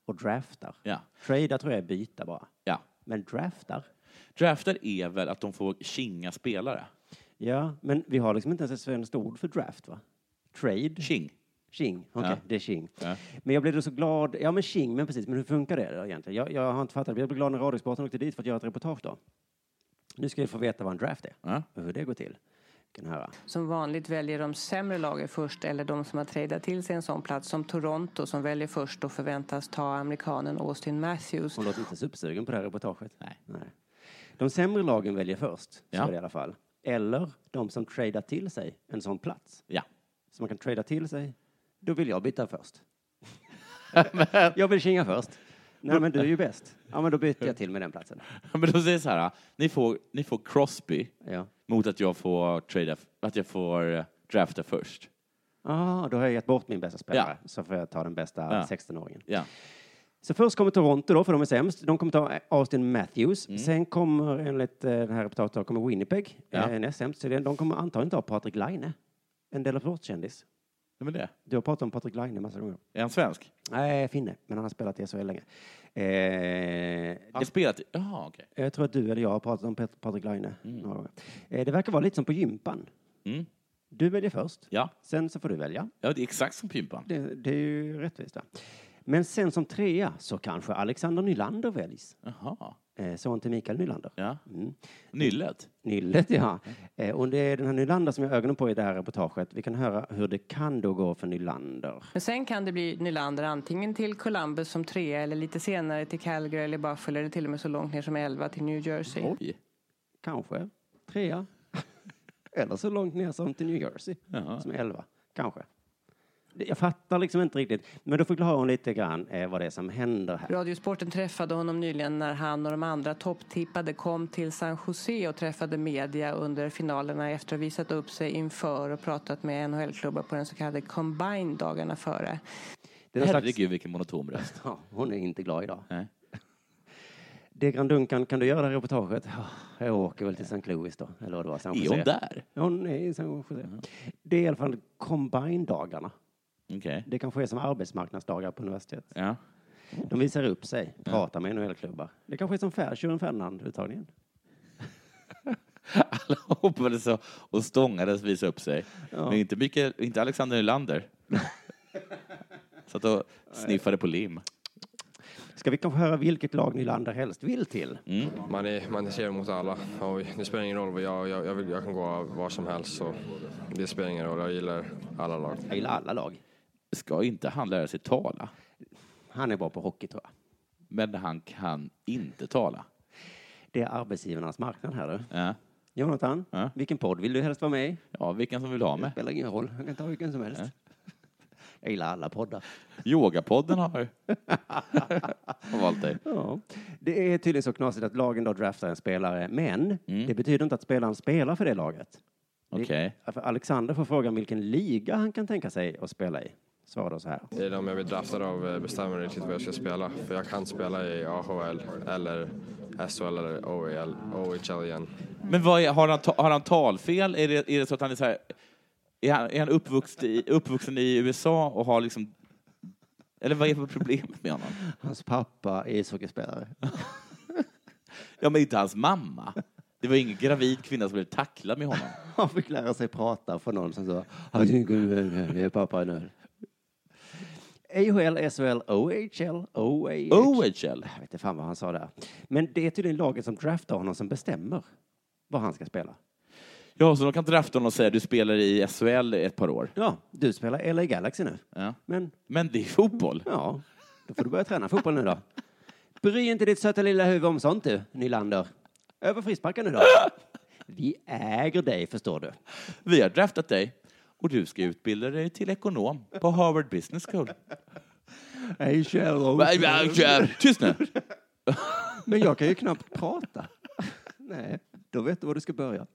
och draftar. Ja. Tradar tror jag är byta bara, Ja. men draftar? Draftar är väl att de får kinga spelare? Ja, men vi har liksom inte ens ett svenskt ord för draft, va? Trade? King. Tjing, okej, Ja. det är tjing. Ja. Men jag blev då så glad, ja men tjing, men precis, men hur funkar det då egentligen? Jag, jag har inte fattat, jag blev glad när Radiosporten åkte dit för att göra ett reportage då. Nu ska vi få veta vad en draft är Ja. och hur det går till. Kan ni höra. Som vanligt väljer de sämre lagen först eller de som har tradat till sig en sån plats som Toronto som väljer först och förväntas ta amerikanen Austin Matthews. Hon låter inte supersugen på det här reportaget. Nej. De sämre lagen väljer först, Ja. så är det i alla fall. Eller de som tradar till sig en sån plats. Ja. Så man kan trada till sig, då vill jag byta först. jag vill kinga först. Nej, men du är ju bäst. Ja, men då byter jag till med den platsen. Men de säger så här, ni får, ni får Crosby Ja. mot att jag får, trada, att jag får eh, drafta först. Ah, då har jag gett bort min bästa spelare, Ja. så får jag ta den bästa Ja. 16-åringen. Ja. Så först kommer Toronto då, för de är sämst. De kommer ta eh, Austin Matthews. Mm. Sen kommer, enligt eh, den här reportagen, kommer Winnipeg, Ja. eh, näst sämst. Så det- de kommer antagligen ta Patrik Laine, en del av vårt kändis. Nej, men det. Du har pratat om Patrik Laine massa gånger. Är han svensk? Nej, finne, men han har spelat i SHL länge. Eh, Han spelat i... Jaha, okej. Jag tror att du eller jag har pratat om Pet- Patrik Laine några gånger. Eh, Det verkar vara lite som på gympan. Mm. Du väljer först, Ja. sen så får du välja. ja, det är exakt som Pimpan. Det, det är ju rättvist. va? Men sen som trea så kanske Alexander Nylander väljs. Jaha. Eh, Son till Mikael Nylander. Ja. Mm. Mm. Nyllet. Nyllet, ja. Eh, Och det är den här Nylander som jag har ögonen på i det här reportaget. Vi kan höra hur det kan då gå för Nylander. Men sen kan det bli Nylander antingen till Columbus som trea eller lite senare till Calgary eller Buffalo eller till och med så långt ner som elva till New Jersey. Oj. Kanske trea. Eller så långt ner som till New Jersey, Jaha. som är elva. Kanske. Det- Jag fattar liksom inte riktigt. Men då förklarar hon lite grann eh, vad det är som händer här. Radiosporten träffade honom nyligen när han och de andra topptippade kom till San Jose och träffade media under finalerna efter att ha visat upp sig inför och pratat med NHL-klubbar på den så kallade Combine dagarna före. Det är någon slags... Herregud, vilken monotom röst. ja, hon är inte glad idag. Nej. Det Duncan, kan du göra det här reportaget? Ja, Jag åker väl till St. Louis då, eller vad det var. San Är Jose. hon där? Mm. Ja, Hon är i San Jose. Det är i alla fall Combine-dagarna. Okej. Det kanske är som arbetsmarknadsdagar på universitetet. Ja. De visar upp sig, pratar med NHL-klubbar. Det kanske är som Fär- Tjuren Ferdinand-uttagningen. Alla hoppades och- och stångades visa upp sig. Men inte, Mikael, inte Alexander Nylander. Satt och sniffade på lim. Ska vi kanske höra vilket lag Nylander helst vill till? Mm. Man är, man är ser mot alla och det spelar ingen roll. vad Jag, jag, jag, vill, jag kan gå av var som helst så det spelar ingen roll. Jag gillar alla lag. Jag gillar alla lag. Ska inte han lära sig tala? Han är bra på hockey, tror jag. Men han kan inte tala. Det är arbetsgivarnas marknad här, du. Ja, Jonathan, Ja. vilken podd vill du helst vara med i? ja vilken som vill ha Det med. spelar ingen roll, jag kan ta vilken som helst. Jag gillar alla poddar. Yogapodden har, har valt dig. Ja. Det är tydligen så knasigt att lagen då draftar en spelare, men det betyder inte att spelaren spelar för det laget. Okej. För Alexander får frågan vilken liga han kan tänka sig att spela i. Svarar då så här. Det är de jag blir draftad av eh, bestämmer riktigt vad jag ska spela. För jag kan spela i AHL eller SHL eller E OEL, OHL igen. Men vad är, har, han ta, har han talfel? Är det, är det så att han är så här... Är han, är han uppvuxen, i, uppvuxen i USA och har liksom... Eller vad är problemet med honom? Hans pappa är ishockeyspelare. Ja, men inte hans mamma. Det var ingen gravid kvinna som blev tacklad med honom. Han fick lära sig prata från någon som sa "Jag tycker det är pappa en öl." AHL, SHL, OHL, OAH. OHL? Jag vet inte fan vad han sa där. Men det är tydligen laget som draftar honom som bestämmer vad han ska spela. Ja, så de kan drafta honom och säga du spelar i SHL i ett par år. Ja, du spelar LA Galaxy nu. Ja. Men Men det är fotboll. ja, då får du börja träna fotboll nu då. Bry inte ditt söta lilla huvud om sånt du, Nylander. Över frisparken nu då. Vi äger dig, förstår du. Vi har draftat dig och du ska utbilda dig till ekonom på Harvard Business School. Hej, Nej, men, tja, Tyst nu! Men jag kan ju knappt prata. Nej, då vet du var du ska börja.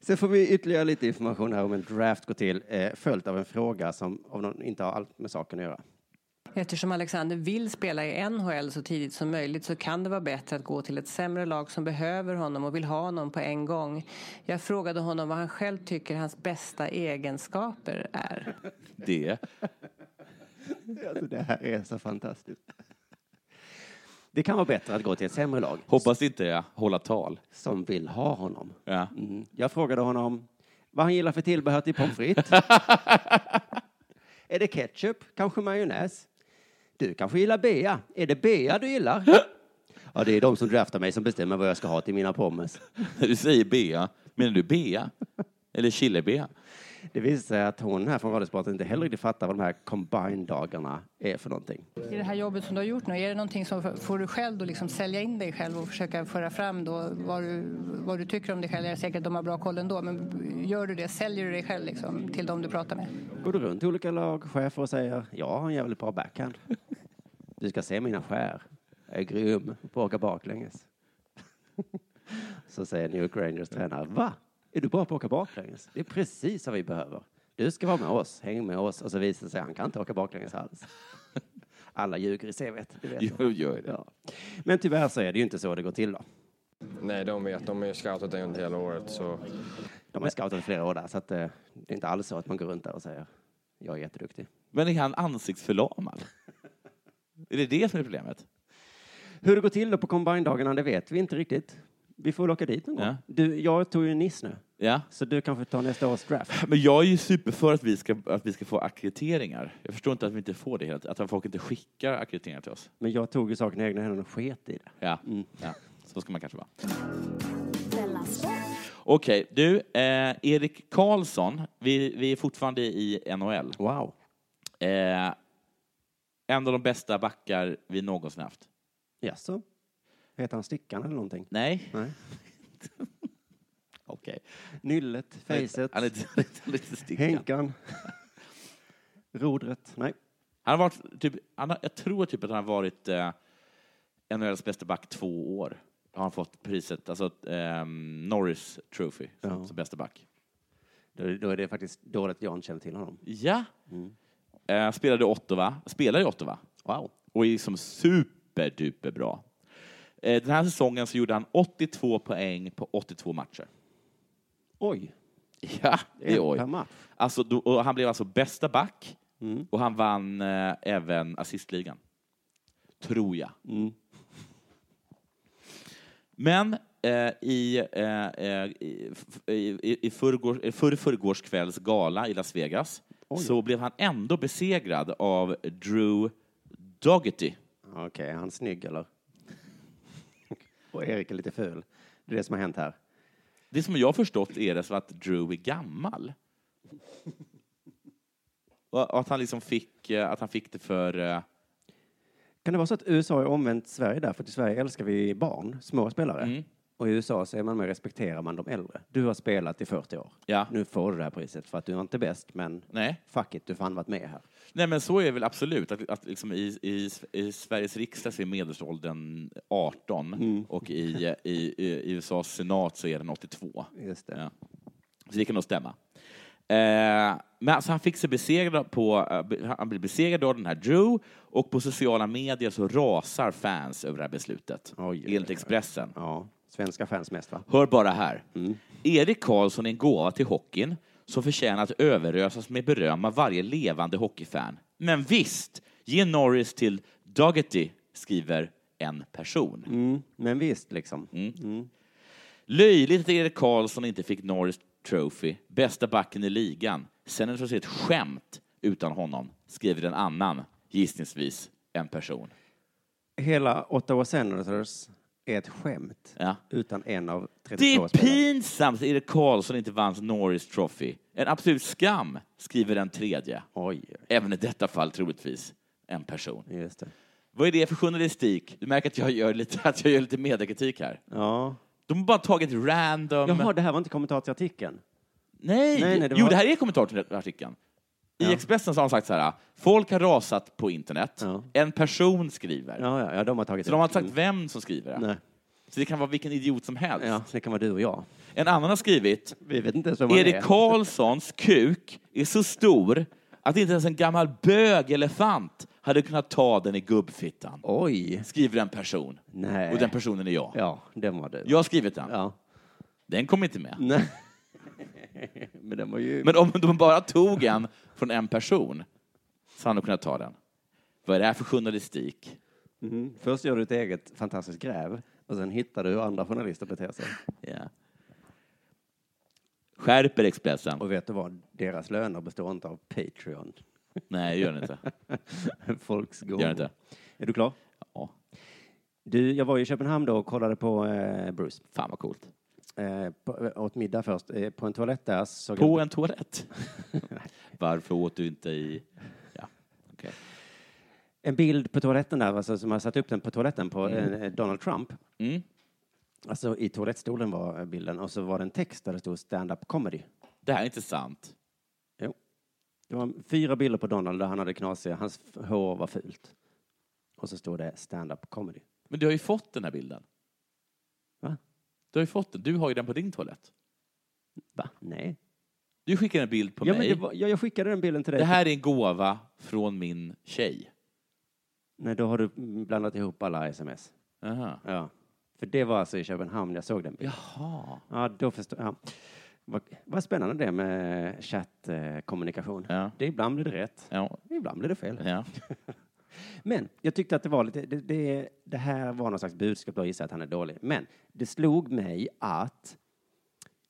Sen får vi ytterligare lite information här om en draft går till, eh, följt av en fråga som av någon inte har allt med saken att göra. Eftersom Alexander vill spela i NHL så tidigt som möjligt så kan det vara bättre att gå till ett sämre lag som behöver honom och vill ha honom på en gång. Jag frågade honom vad han själv tycker hans bästa egenskaper är. Det. Alltså, det här är så fantastiskt. Det kan vara bättre att gå till ett sämre lag Hoppas inte jag hålla tal. som vill ha honom. Ja. Mm. Jag frågade honom vad han gillar för tillbehör till pommes frites. är det ketchup? Kanske majonnäs? Du kanske gillar bea? Är det bea du gillar? ja, det är de som draftar mig som bestämmer vad jag ska ha till mina pommes. När du säger bea, menar du bea? Eller chilebea? Det visar sig att hon här från Radiosporten inte heller riktigt fattar vad de här combine-dagarna är för någonting. I det här jobbet som du har gjort nu, är det någonting som får du själv då liksom sälja in dig själv och försöka föra fram då vad du, vad du tycker om dig själv? Jag är säker att de har bra koll ändå, men gör du det, säljer du dig själv liksom till de du pratar med? Går du runt till olika lagchefer och säger jag har en jävligt bra backhand. Du ska se mina skär. Jag är grym på att åka baklänges. Så säger New York Rangers tränare. Va? Är du bra på att åka baklänges? Det är precis vad vi behöver. Du ska vara med oss, häng med oss. Och så visar det sig att han kan inte åka baklänges alls. Alla ljuger i CVt. det vet jag. Jo, gör det. Ja. Men tyvärr så är det ju inte så det går till då. Nej, de vet. De har ju scoutat det under hela året så De har scoutat i flera år där, så att, eh, det är inte alls så att man går runt där och säger Jag är jätteduktig. Men är han ansiktsförlamad? är det det som är problemet? Hur det går till då på combine-dagarna, det vet vi inte riktigt. Vi får väl åka dit någon gång. Ja. Du, jag tog ju Niss nu, Ja. så du kanske tar nästa års draft. Men jag är ju superför att vi ska, att vi ska få akkrediteringar. Jag förstår inte att vi inte får det helt, att folk inte skickar akkrediteringar till oss. Men jag tog ju saken i egna händer och sket i det. Ja. ja. Så ska man kanske vara. Della Sport. Okej, du, eh, Erik Karlsson, vi, vi är fortfarande i NHL. Wow. Eh, en av de bästa backar vi någonsin haft. Jaså? Heter han Stickan eller någonting? Nej? Nej. Okej. Nyllet, Fejset, Han är lite, han är lite, lite stickad. Henkan, Rodret. Nej. Han har varit, typ, han har, jag tror typ att han har varit eh, NHLs bästa back två år. Har han fått priset, alltså ehm, Norris Trophy som, Ja. som bästa back. Då, då är det faktiskt dåligt att jag inte känner till honom. Ja. Eh, spelade i Ottawa, spelar i Ottawa Wow. och är liksom superduper bra. Eh, den här säsongen så gjorde han 82 poäng på 82 matcher. Oj. Ja, det En är oj. per match. Alltså, då, och han blev alltså bästa back och han vann eh, även assistligan. Tror jag. Men eh, i, eh, eh, i, f- i, i, förrgår, i förr, förrgårskvälls gala i Las Vegas så blev han ändå besegrad av Drew Doggety. Okej, är han snygg eller? Och Erik är lite ful. Det är det som har hänt här. Det som jag har förstått är det som att Drew är gammal. Och och att han liksom fick, eh, att han fick det för... eh, Kan det vara så att USA har omvänt Sverige där? För i Sverige älskar vi barn, små spelare. Mm. Och i USA så är man mer respekterar man de äldre. Du har spelat i 40 år. Ja. Nu får du det här priset för att du är inte bäst, men Nej. fuck it, du har fan varit med här. Nej, men så är det väl absolut. Att, att liksom i, i, I Sveriges riksdag så är medelåldern 18 Mm. och i, i, i USAs senat så är den 82. Just det. Ja. Så det kan nog stämma. Eh, men alltså han fick sig besegrad på, eh, be- han blev besegrad av den här Drew och på sociala medier så rasar fans över det här beslutet. Oj, oj, enligt oj. Expressen. Ja, svenska fans mest va? Hör bara här. Erik Karlsson är en gåva till hockeyn som förtjänar att överösas med beröm av varje levande hockeyfan. Men visst, ge Norris till Doggety, skriver en person. Mm, men visst liksom. Mm. Löjligt att Erik Karlsson inte fick Norris Trophy, bästa backen i ligan. Sen är det förstås ett skämt utan honom, skriver en annan, gissningsvis en person. Hela Ottawa Senators är ett skämt Ja. utan en av Det 32 är pinsamt att Erik Karlsson inte vann Norris Trophy. En absolut skam, skriver en tredje. Oj, Även i detta fall troligtvis en person. just det. Vad är det för journalistik? Du märker att jag gör lite, att jag gör lite mediekritik här. Ja. De har bara tagit random... Jaha, det här var inte kommentar till artikeln. Nej! Nej, nej, det Jo, var- det här är kommentar till den här artikeln. I Expressen så har de sagt så här, folk har rasat på internet, Ja. en person skriver. Ja, ja, ja de har tagit Så de har inte sagt Mm. vem som skriver det. Nej. Så det kan vara vilken idiot som helst. Ja, det kan vara du och jag. En annan har skrivit, Vi vet inte ens vem man är. Erik Karlssons kuk är så stor att inte ens en gammal bögelefant hade kunnat ta den i gubbfittan. Oj. Skriver en person. Nej. Och den personen är jag. Ja, den var du. Jag har skrivit den. Ja. Mm. Den kom inte med. Nej. Men den var ju... Men om de bara tog en från en person så hade de kunnat ta den. Vad är det här för journalistik? Först gör du ett eget fantastiskt gräv och sen hittar du hur andra journalister beter sig. Ja. Skärper Expressen? Och vet du vad? Deras löner består inte av Patreon. Nej, det gör den inte. Folks gåvor. Gör inte. Är du klar? Ja, Du, jag var i Köpenhamn då och kollade på eh, Bruce. fan vad coolt. Eh, på, åt middag först. Eh, på en toalett där såg jag... På en toalett? Varför åt du inte i... Ja, okej. en bild på toaletten där, alltså, som har satt upp den på toaletten på eh, Donald Trump. Mm. Alltså i toalettstolen var eh, bilden och så var det en text där det stod stand-up comedy. Det här är inte sant. Jo. Det var fyra bilder på Donald där han hade knasiga, hans f- hår var fult. Och så stod det stand-up comedy. Men du har ju fått den här bilden. Va? Du har ju fått den. Du har ju den på din toalett. Va? Nej. Du skickade en bild på Ja, men mig. det var, ja, jag skickade den bilden till dig. Det här är en gåva från min tjej. Nej, då har du mm, blandat ihop alla sms. Aha. Ja. För det var alltså i Köpenhamn jag såg den bilden. Jaha. Ja, då förstår jag. Vad, vad spännande det med chattkommunikation. Ja. Det, ibland blir det rätt, Ja. ibland blir det fel. Ja. Men jag tyckte att det var lite, det, det, det här var någon slags budskap, då gissar jag att han är dålig. Men det slog mig att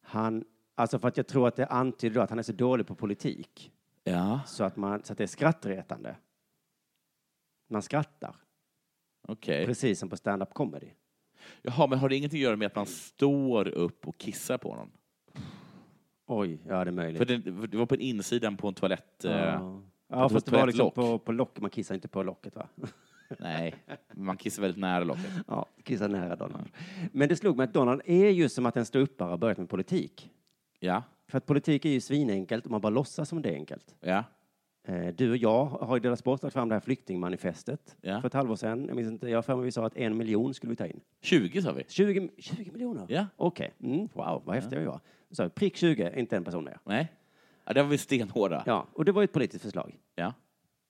han, alltså för att jag tror att det antyder då att han är så dålig på politik ja. så att, man, så att det är skrattretande. Man skrattar, Okej. precis som på stand-up comedy. Jaha, men har det ingenting att göra med att man står upp och kissar på någon? Oj, ja det är möjligt. För det, för det var på insidan på en toalett. eh, ja, ja på fast det var liksom toalettlock. på, på lock, man kissar inte på locket va? Nej, man kissar väldigt nära locket. Ja, kissa nära Donald. Men det slog mig att Donald är ju som att en ståuppare har börjat med politik. Ja, För att politik är ju svinenkelt om man bara låtsas som det är enkelt. ja, Eh, Du och jag har ju Dela Sport lagt fram det här flyktingmanifestet Ja. för ett halvår sedan. Jag minns inte, jag har för mig vi sa att en miljon skulle vi ta in. 20 sa vi. 20, 20 miljoner? Ja. Okej. Mm, wow, vad häftiga vi var. Så, prick 20, inte en person där. Nej, ja, där var vi stenhårda. Ja, och det var ju ett politiskt förslag. Ja.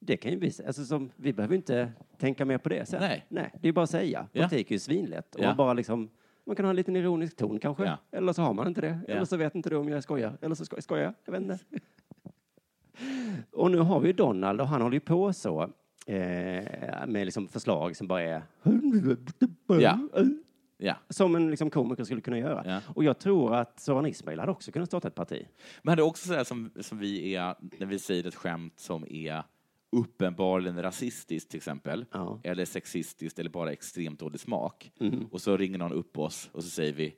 Det kan ju visa, alltså som, vi behöver inte tänka mer på det sen. Nej. det är ju bara att säga. Ja. Politik är ju svinlätt. Och Ja. man bara liksom, man kan ha en liten ironisk ton kanske. Ja. Eller så har man inte det. Ja. Eller så vet inte du om jag skojar. Eller så sko- skojar jag, jag vet inte. och nu har vi ju Donald och han håller ju på så. Eh, med liksom förslag som bara är Ja. ja. som en liksom komiker skulle kunna göra. Ja. Och jag tror att Soran Ismail hade också kunnat starta ett parti. Men det är också sådär som, som vi är, när vi säger ett skämt som är uppenbarligen rasistiskt till exempel, Ja. Mhm. eller sexistiskt eller bara extremt dålig smak. Och så ringer någon upp oss och så säger vi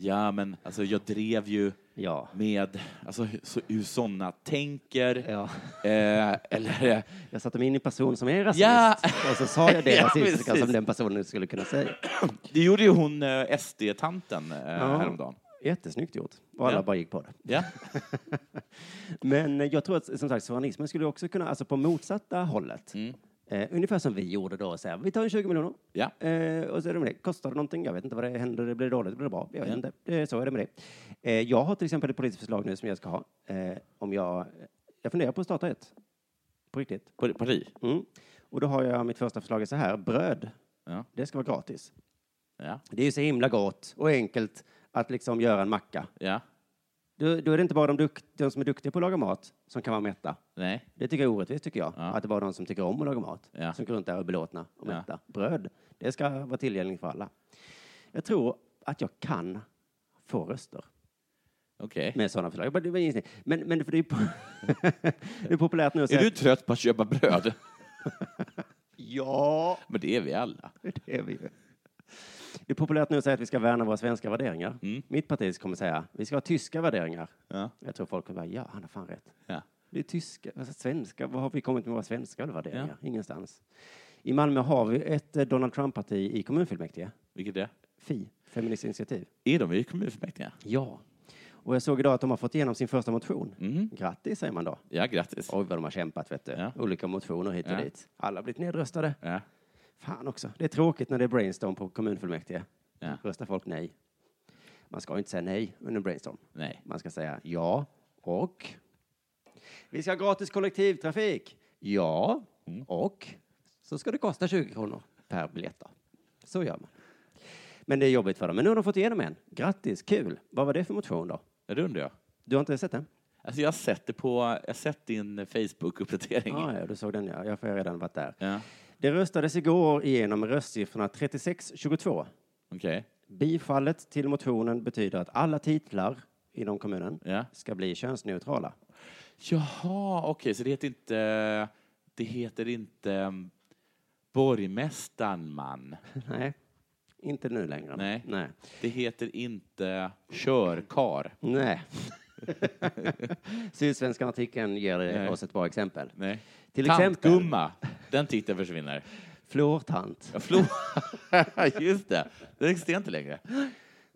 Ja, men alltså jag drev ju Ja. med alltså, hur- så, hur sådana tänker. Ja. Eh, eller, eh, Jag satte mig in i en person som är rasist Ja. och så sa jag det Ja, rasistiska precis. som den personen skulle kunna säga. det gjorde ju hon eh, SD-tanten eh, häromdagen. Jättesnyggt gjort. Och alla Ja. bara gick på det. Ja, Men eh, jag tror att som sagt soranismen skulle också kunna, alltså på motsatta hållet. Eh, ungefär som vi gjorde då, så här, vi tar en 20 miljoner. Mm. ja. Eh, och så är det med det. Kostar det någonting? Jag vet inte vad det händer. Det blir dåligt, det blir bra. Jag vet inte. Eh, så är det med det. Eh, jag har till exempel ett politiskt förslag nu som jag ska ha. Eh, om jag, jag funderar på att starta ett. På riktigt. Par- Parti. Mm. Och då har jag mitt första förslag är så här. Bröd, Ja. det ska vara gratis. Ja. Det är ju så himla gott och enkelt att liksom göra en macka. ja. Då, då är det inte bara de, dukt, de som är duktiga på att laga mat som kan vara mätta. Nej. Det tycker jag är orättvist, tycker jag. Ja. Att det bara är de som tycker om att laga mat Ja. som går runt där och är belåtna och Ja. mätta. Bröd, det ska vara tillgängligt för alla. Jag tror att jag kan få röster Okej. med sådana förslag. Jag bara- det var en gissning. Men, men för det, är po- det är populärt nu att Är säga... du trött på att köpa bröd? Ja, Men det är vi alla. det är vi ju. Det är populärt nu att säga att vi ska värna våra svenska värderingar. Mm. Mitt parti kommer säga vi ska ha tyska värderingar. Ja. Jag tror folk kommer bara, ja, han har fan rätt. Ja. Det är tyska, alltså svenska. Vad har vi kommit med våra svenska eller värderingar? Ja. Ingenstans. I Malmö har vi ett eh, Donald Trump-parti i kommunfullmäktige. Vilket är? Fi, Feministiskt initiativ. Är de i kommunfullmäktige? Ja. Och jag såg idag att de har fått igenom sin första motion. Grattis säger man då. Ja, grattis. Oj vad de har kämpat vet du. Mhm. Ja. Olika motioner hit och Ja. dit. Alla har blivit nedröstade. Ja. Fan också. Det är tråkigt när det är brainstorm på kommunfullmäktige. Ja. Röstar folk nej. Man ska ju inte säga nej under brainstorm. Nej. Man ska säga ja och. Vi ska ha gratis kollektivtrafik. Ja Mm. och. Så ska det kosta 20 kronor per biljett. då. Så gör man. Men det är jobbigt för dem. Men nu har de fått igenom en. Grattis, kul. Vad var det för motion då? Ja, det undrar jag. Du har inte sett den? Alltså, jag har sett det på, jag har sett din Facebook-uppdatering. Ah, ja, du såg den ja. Jag har redan varit där. Ja. Det röstades igår igenom med röstsiffrorna 36-22. Okej. Bifallet till motionen betyder att alla titlar inom kommunen Ja. ska bli könsneutrala. Jaha, okej, så det heter inte, det heter inte um, borgmästaren man. Nej, inte nu längre. Nej. Nej. Det heter inte körkar. Nej. Sydsvenskan artikeln ger oss ett bra exempel. Nej. Till exempel Tantgumma, den titeln försvinner. flårtant, Ja, Flå... Just det, det existerar inte längre.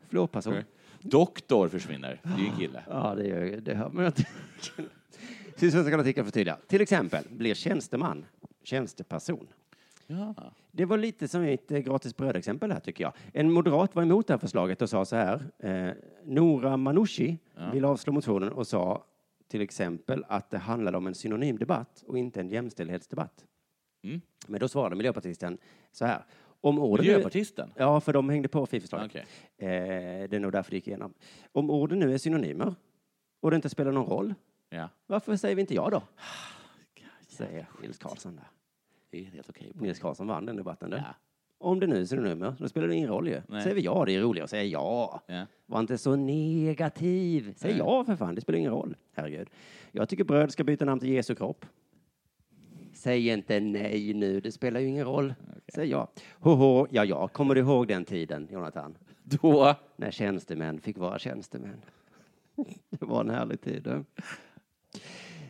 flårperson. Doktor försvinner, det är ju en kille. Ja, det, gör, det hör man ju att- Sydsvenskan artikeln förtydligar. Till exempel blir tjänsteman tjänsteperson. Ja. Det var lite som ett eh, gratis brödexempel här tycker jag. En moderat var emot det här förslaget och sa så här. Eh, Nora Manushi ville avslå motionen och sa till exempel att det handlade om en synonymdebatt och inte en jämställdhetsdebatt. Men då svarade miljöpartisten så här. Om orden nu- Miljöpartisten? Ja, för de hängde på FI-förslaget. Okej. Eh, det är nog därför det gick igenom. Om orden nu är synonymer och det inte spelar någon roll, Ja. varför säger vi inte ja då? Säger Nils Karlsson där. Det är helt okej. Nils Karlsson vann den debatten. där. Ja. Om det nu så är det nummer, då spelar det ingen roll ju. Nej. Säger vi ja, det är roligare att säga ja. Ja. Var inte så negativ. Säg ja för fan, det spelar ingen roll. Herregud. Jag tycker bröd ska byta namn till Jesu kropp. Säg inte nej nu, det spelar ju ingen roll. Säg ja. Hoho, ja, ja. Kommer du ihåg den tiden, Jonathan? Då... När tjänstemän fick vara tjänstemän. Det var en härlig tid. du.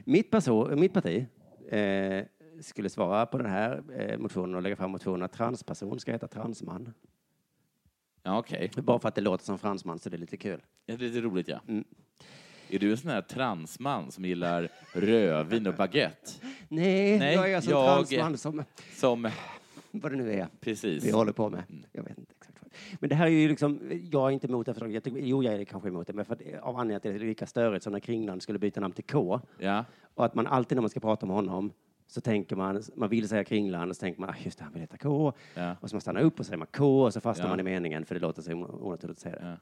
Mitt, perso- mitt parti eh, skulle svara på den här eh, motionen och lägga fram motionen att transperson ska heta transman. Ja, okej. Bara för att det låter som fransman så det är lite kul. Ja, det är lite roligt, ja. Är du en sån här transman som gillar rödvin och baguette? Nej, Nej, jag är alltså en jag- transman som Som... vad det nu är Precis. Mm. vi håller på med. Jag vet inte exakt. vad. Men det här är ju liksom, jag är inte emot det förslaget. Jag tycker, jo, jag är kanske emot det, men för att, av anledningen att det är lika störigt som när Kringland skulle byta namn till K. Ja. Och att man alltid när man ska prata om honom så tänker man, man vill säga Kringland och så tänker man, ah, just det, han vill heta K. Ja. Och så man stannar upp och säger man K och så fastnar Ja. man i meningen för det låter så o- onaturligt att säga det.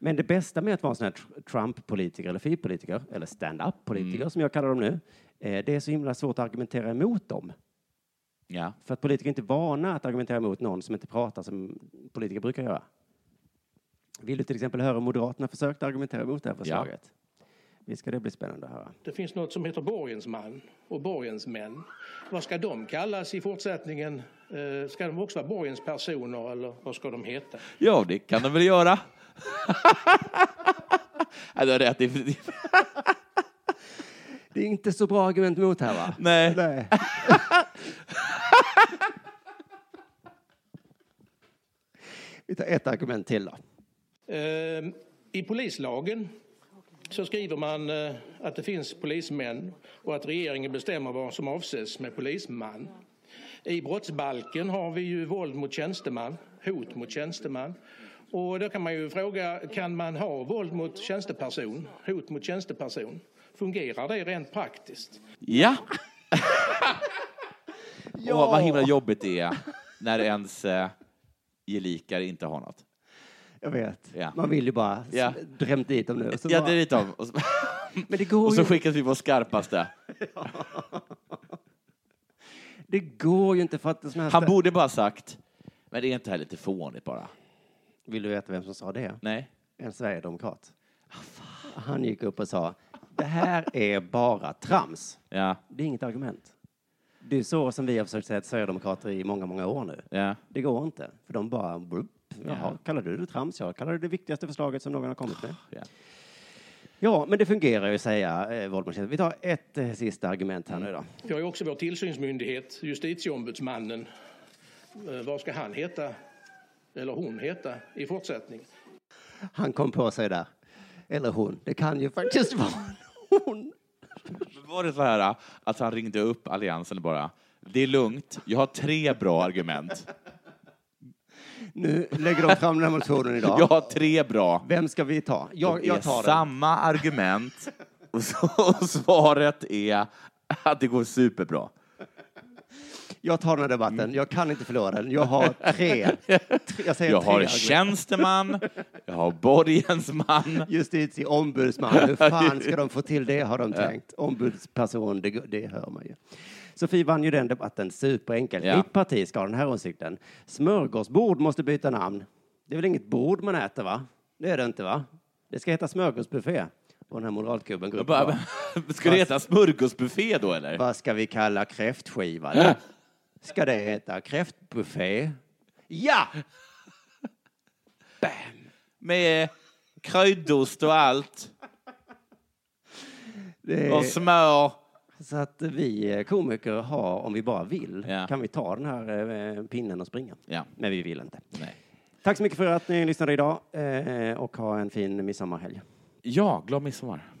Men det bästa med att vara en sån här tr- Trump-politiker eller FI-politiker eller stand-up-politiker Mm. som jag kallar dem nu, eh, det är så himla svårt att argumentera emot dem. Ja. För att politiker är inte vana att argumentera emot någon som inte pratar som politiker brukar göra. Vill du till exempel höra om Moderaterna försökte argumentera emot det här förslaget? Visst ska det bli spännande att höra. Det finns något som heter borgensman och borgensmän. Vad ska de kallas i fortsättningen? Eh, Ska de också vara borgenspersoner eller vad ska de heta? Ja, det kan de väl göra. Nej, du har rätt. Det är- Det är inte så bra argument mot här, va? Nej. Nej. Vi tar ett argument till då. Eh, I polislagen så skriver man eh, att det finns polismän och att regeringen bestämmer vad som avses med polisman. I brottsbalken har vi ju våld mot tjänsteman, hot mot tjänsteman. Och då kan man ju fråga, kan man ha våld mot tjänsteperson, hot mot tjänsteperson? Fungerar det rent praktiskt? Ja! Åh, vad himla jobbigt det är när ens eh, gelikar inte har något. Jag vet. Ja. Man vill ju bara Ja. yeah. drämt dit dem nu. och så Ja, bara- det är lite av. Och så, Men det går och så ju- skickas vi på skarpaste. det går ju inte för att... en sån här Han stä- borde bara sagt, men det är inte här lite fånigt bara? Vill du veta vem som sa det? Nej. Ah, En sverigedemokrat. Han gick upp och sa, det här är bara trams. Ja, Det är inget argument. Det är så som vi har försökt säga till sverigedemokrater i många, många år nu. ja. Det går inte, för de bara... Brup, jaha, kallar du det trams? Jag kallar det det viktigaste förslaget som någon har kommit med. Ja. Ja, men det fungerar ju att säga eh, våld mot tjänsteman. Vi tar ett eh, sista argument här nu då. Vi har ju också vår tillsynsmyndighet, justitieombudsmannen. Eh, Vad ska han heta, eller hon heta, i fortsättningen? Han kom på sig där. Eller hon. Det kan ju faktiskt vara hon. Var det så här äh, att han ringde upp Alliansen bara, det är lugnt, jag har tre bra argument. Nu lägger de fram den här motionen idag. Jag har tre bra. Vem ska vi ta? Jag, Det är jag tar den. samma argument och, så, och svaret är att det går superbra. Jag tar den här debatten. Jag kan inte förlora den. Jag har tre. tre jag säger Jag tre har argument. tjänsteman, jag har borgensman. Justitieombudsman. Hur fan ska de få till det, har de tänkt. Ombudsperson, det, det hör man ju. Sofie vann ju den debatten superenkelt. Ja. Mitt parti ska ha den här åsikten. Smörgåsbord måste byta namn. Det är väl inget bord man äter, va? Det är det inte, va? Det ska heta smörgåsbuffé. Och den här moderatgubben går upp och Bara- bara, Ska det heta smörgåsbuffé då eller? Vad ska vi kalla kräftskivan? då? Ska det heta kräftbuffé? Ja! Med eh, kryddost och allt. Det Och smör. Så att vi eh, komiker har, om vi bara vill, Ja. kan vi ta den här eh, pinnen och springa. Ja. Men vi vill inte. Nej. Tack så mycket för att ni lyssnade idag eh, och ha en fin midsommarhelg. Ja, glad midsommar.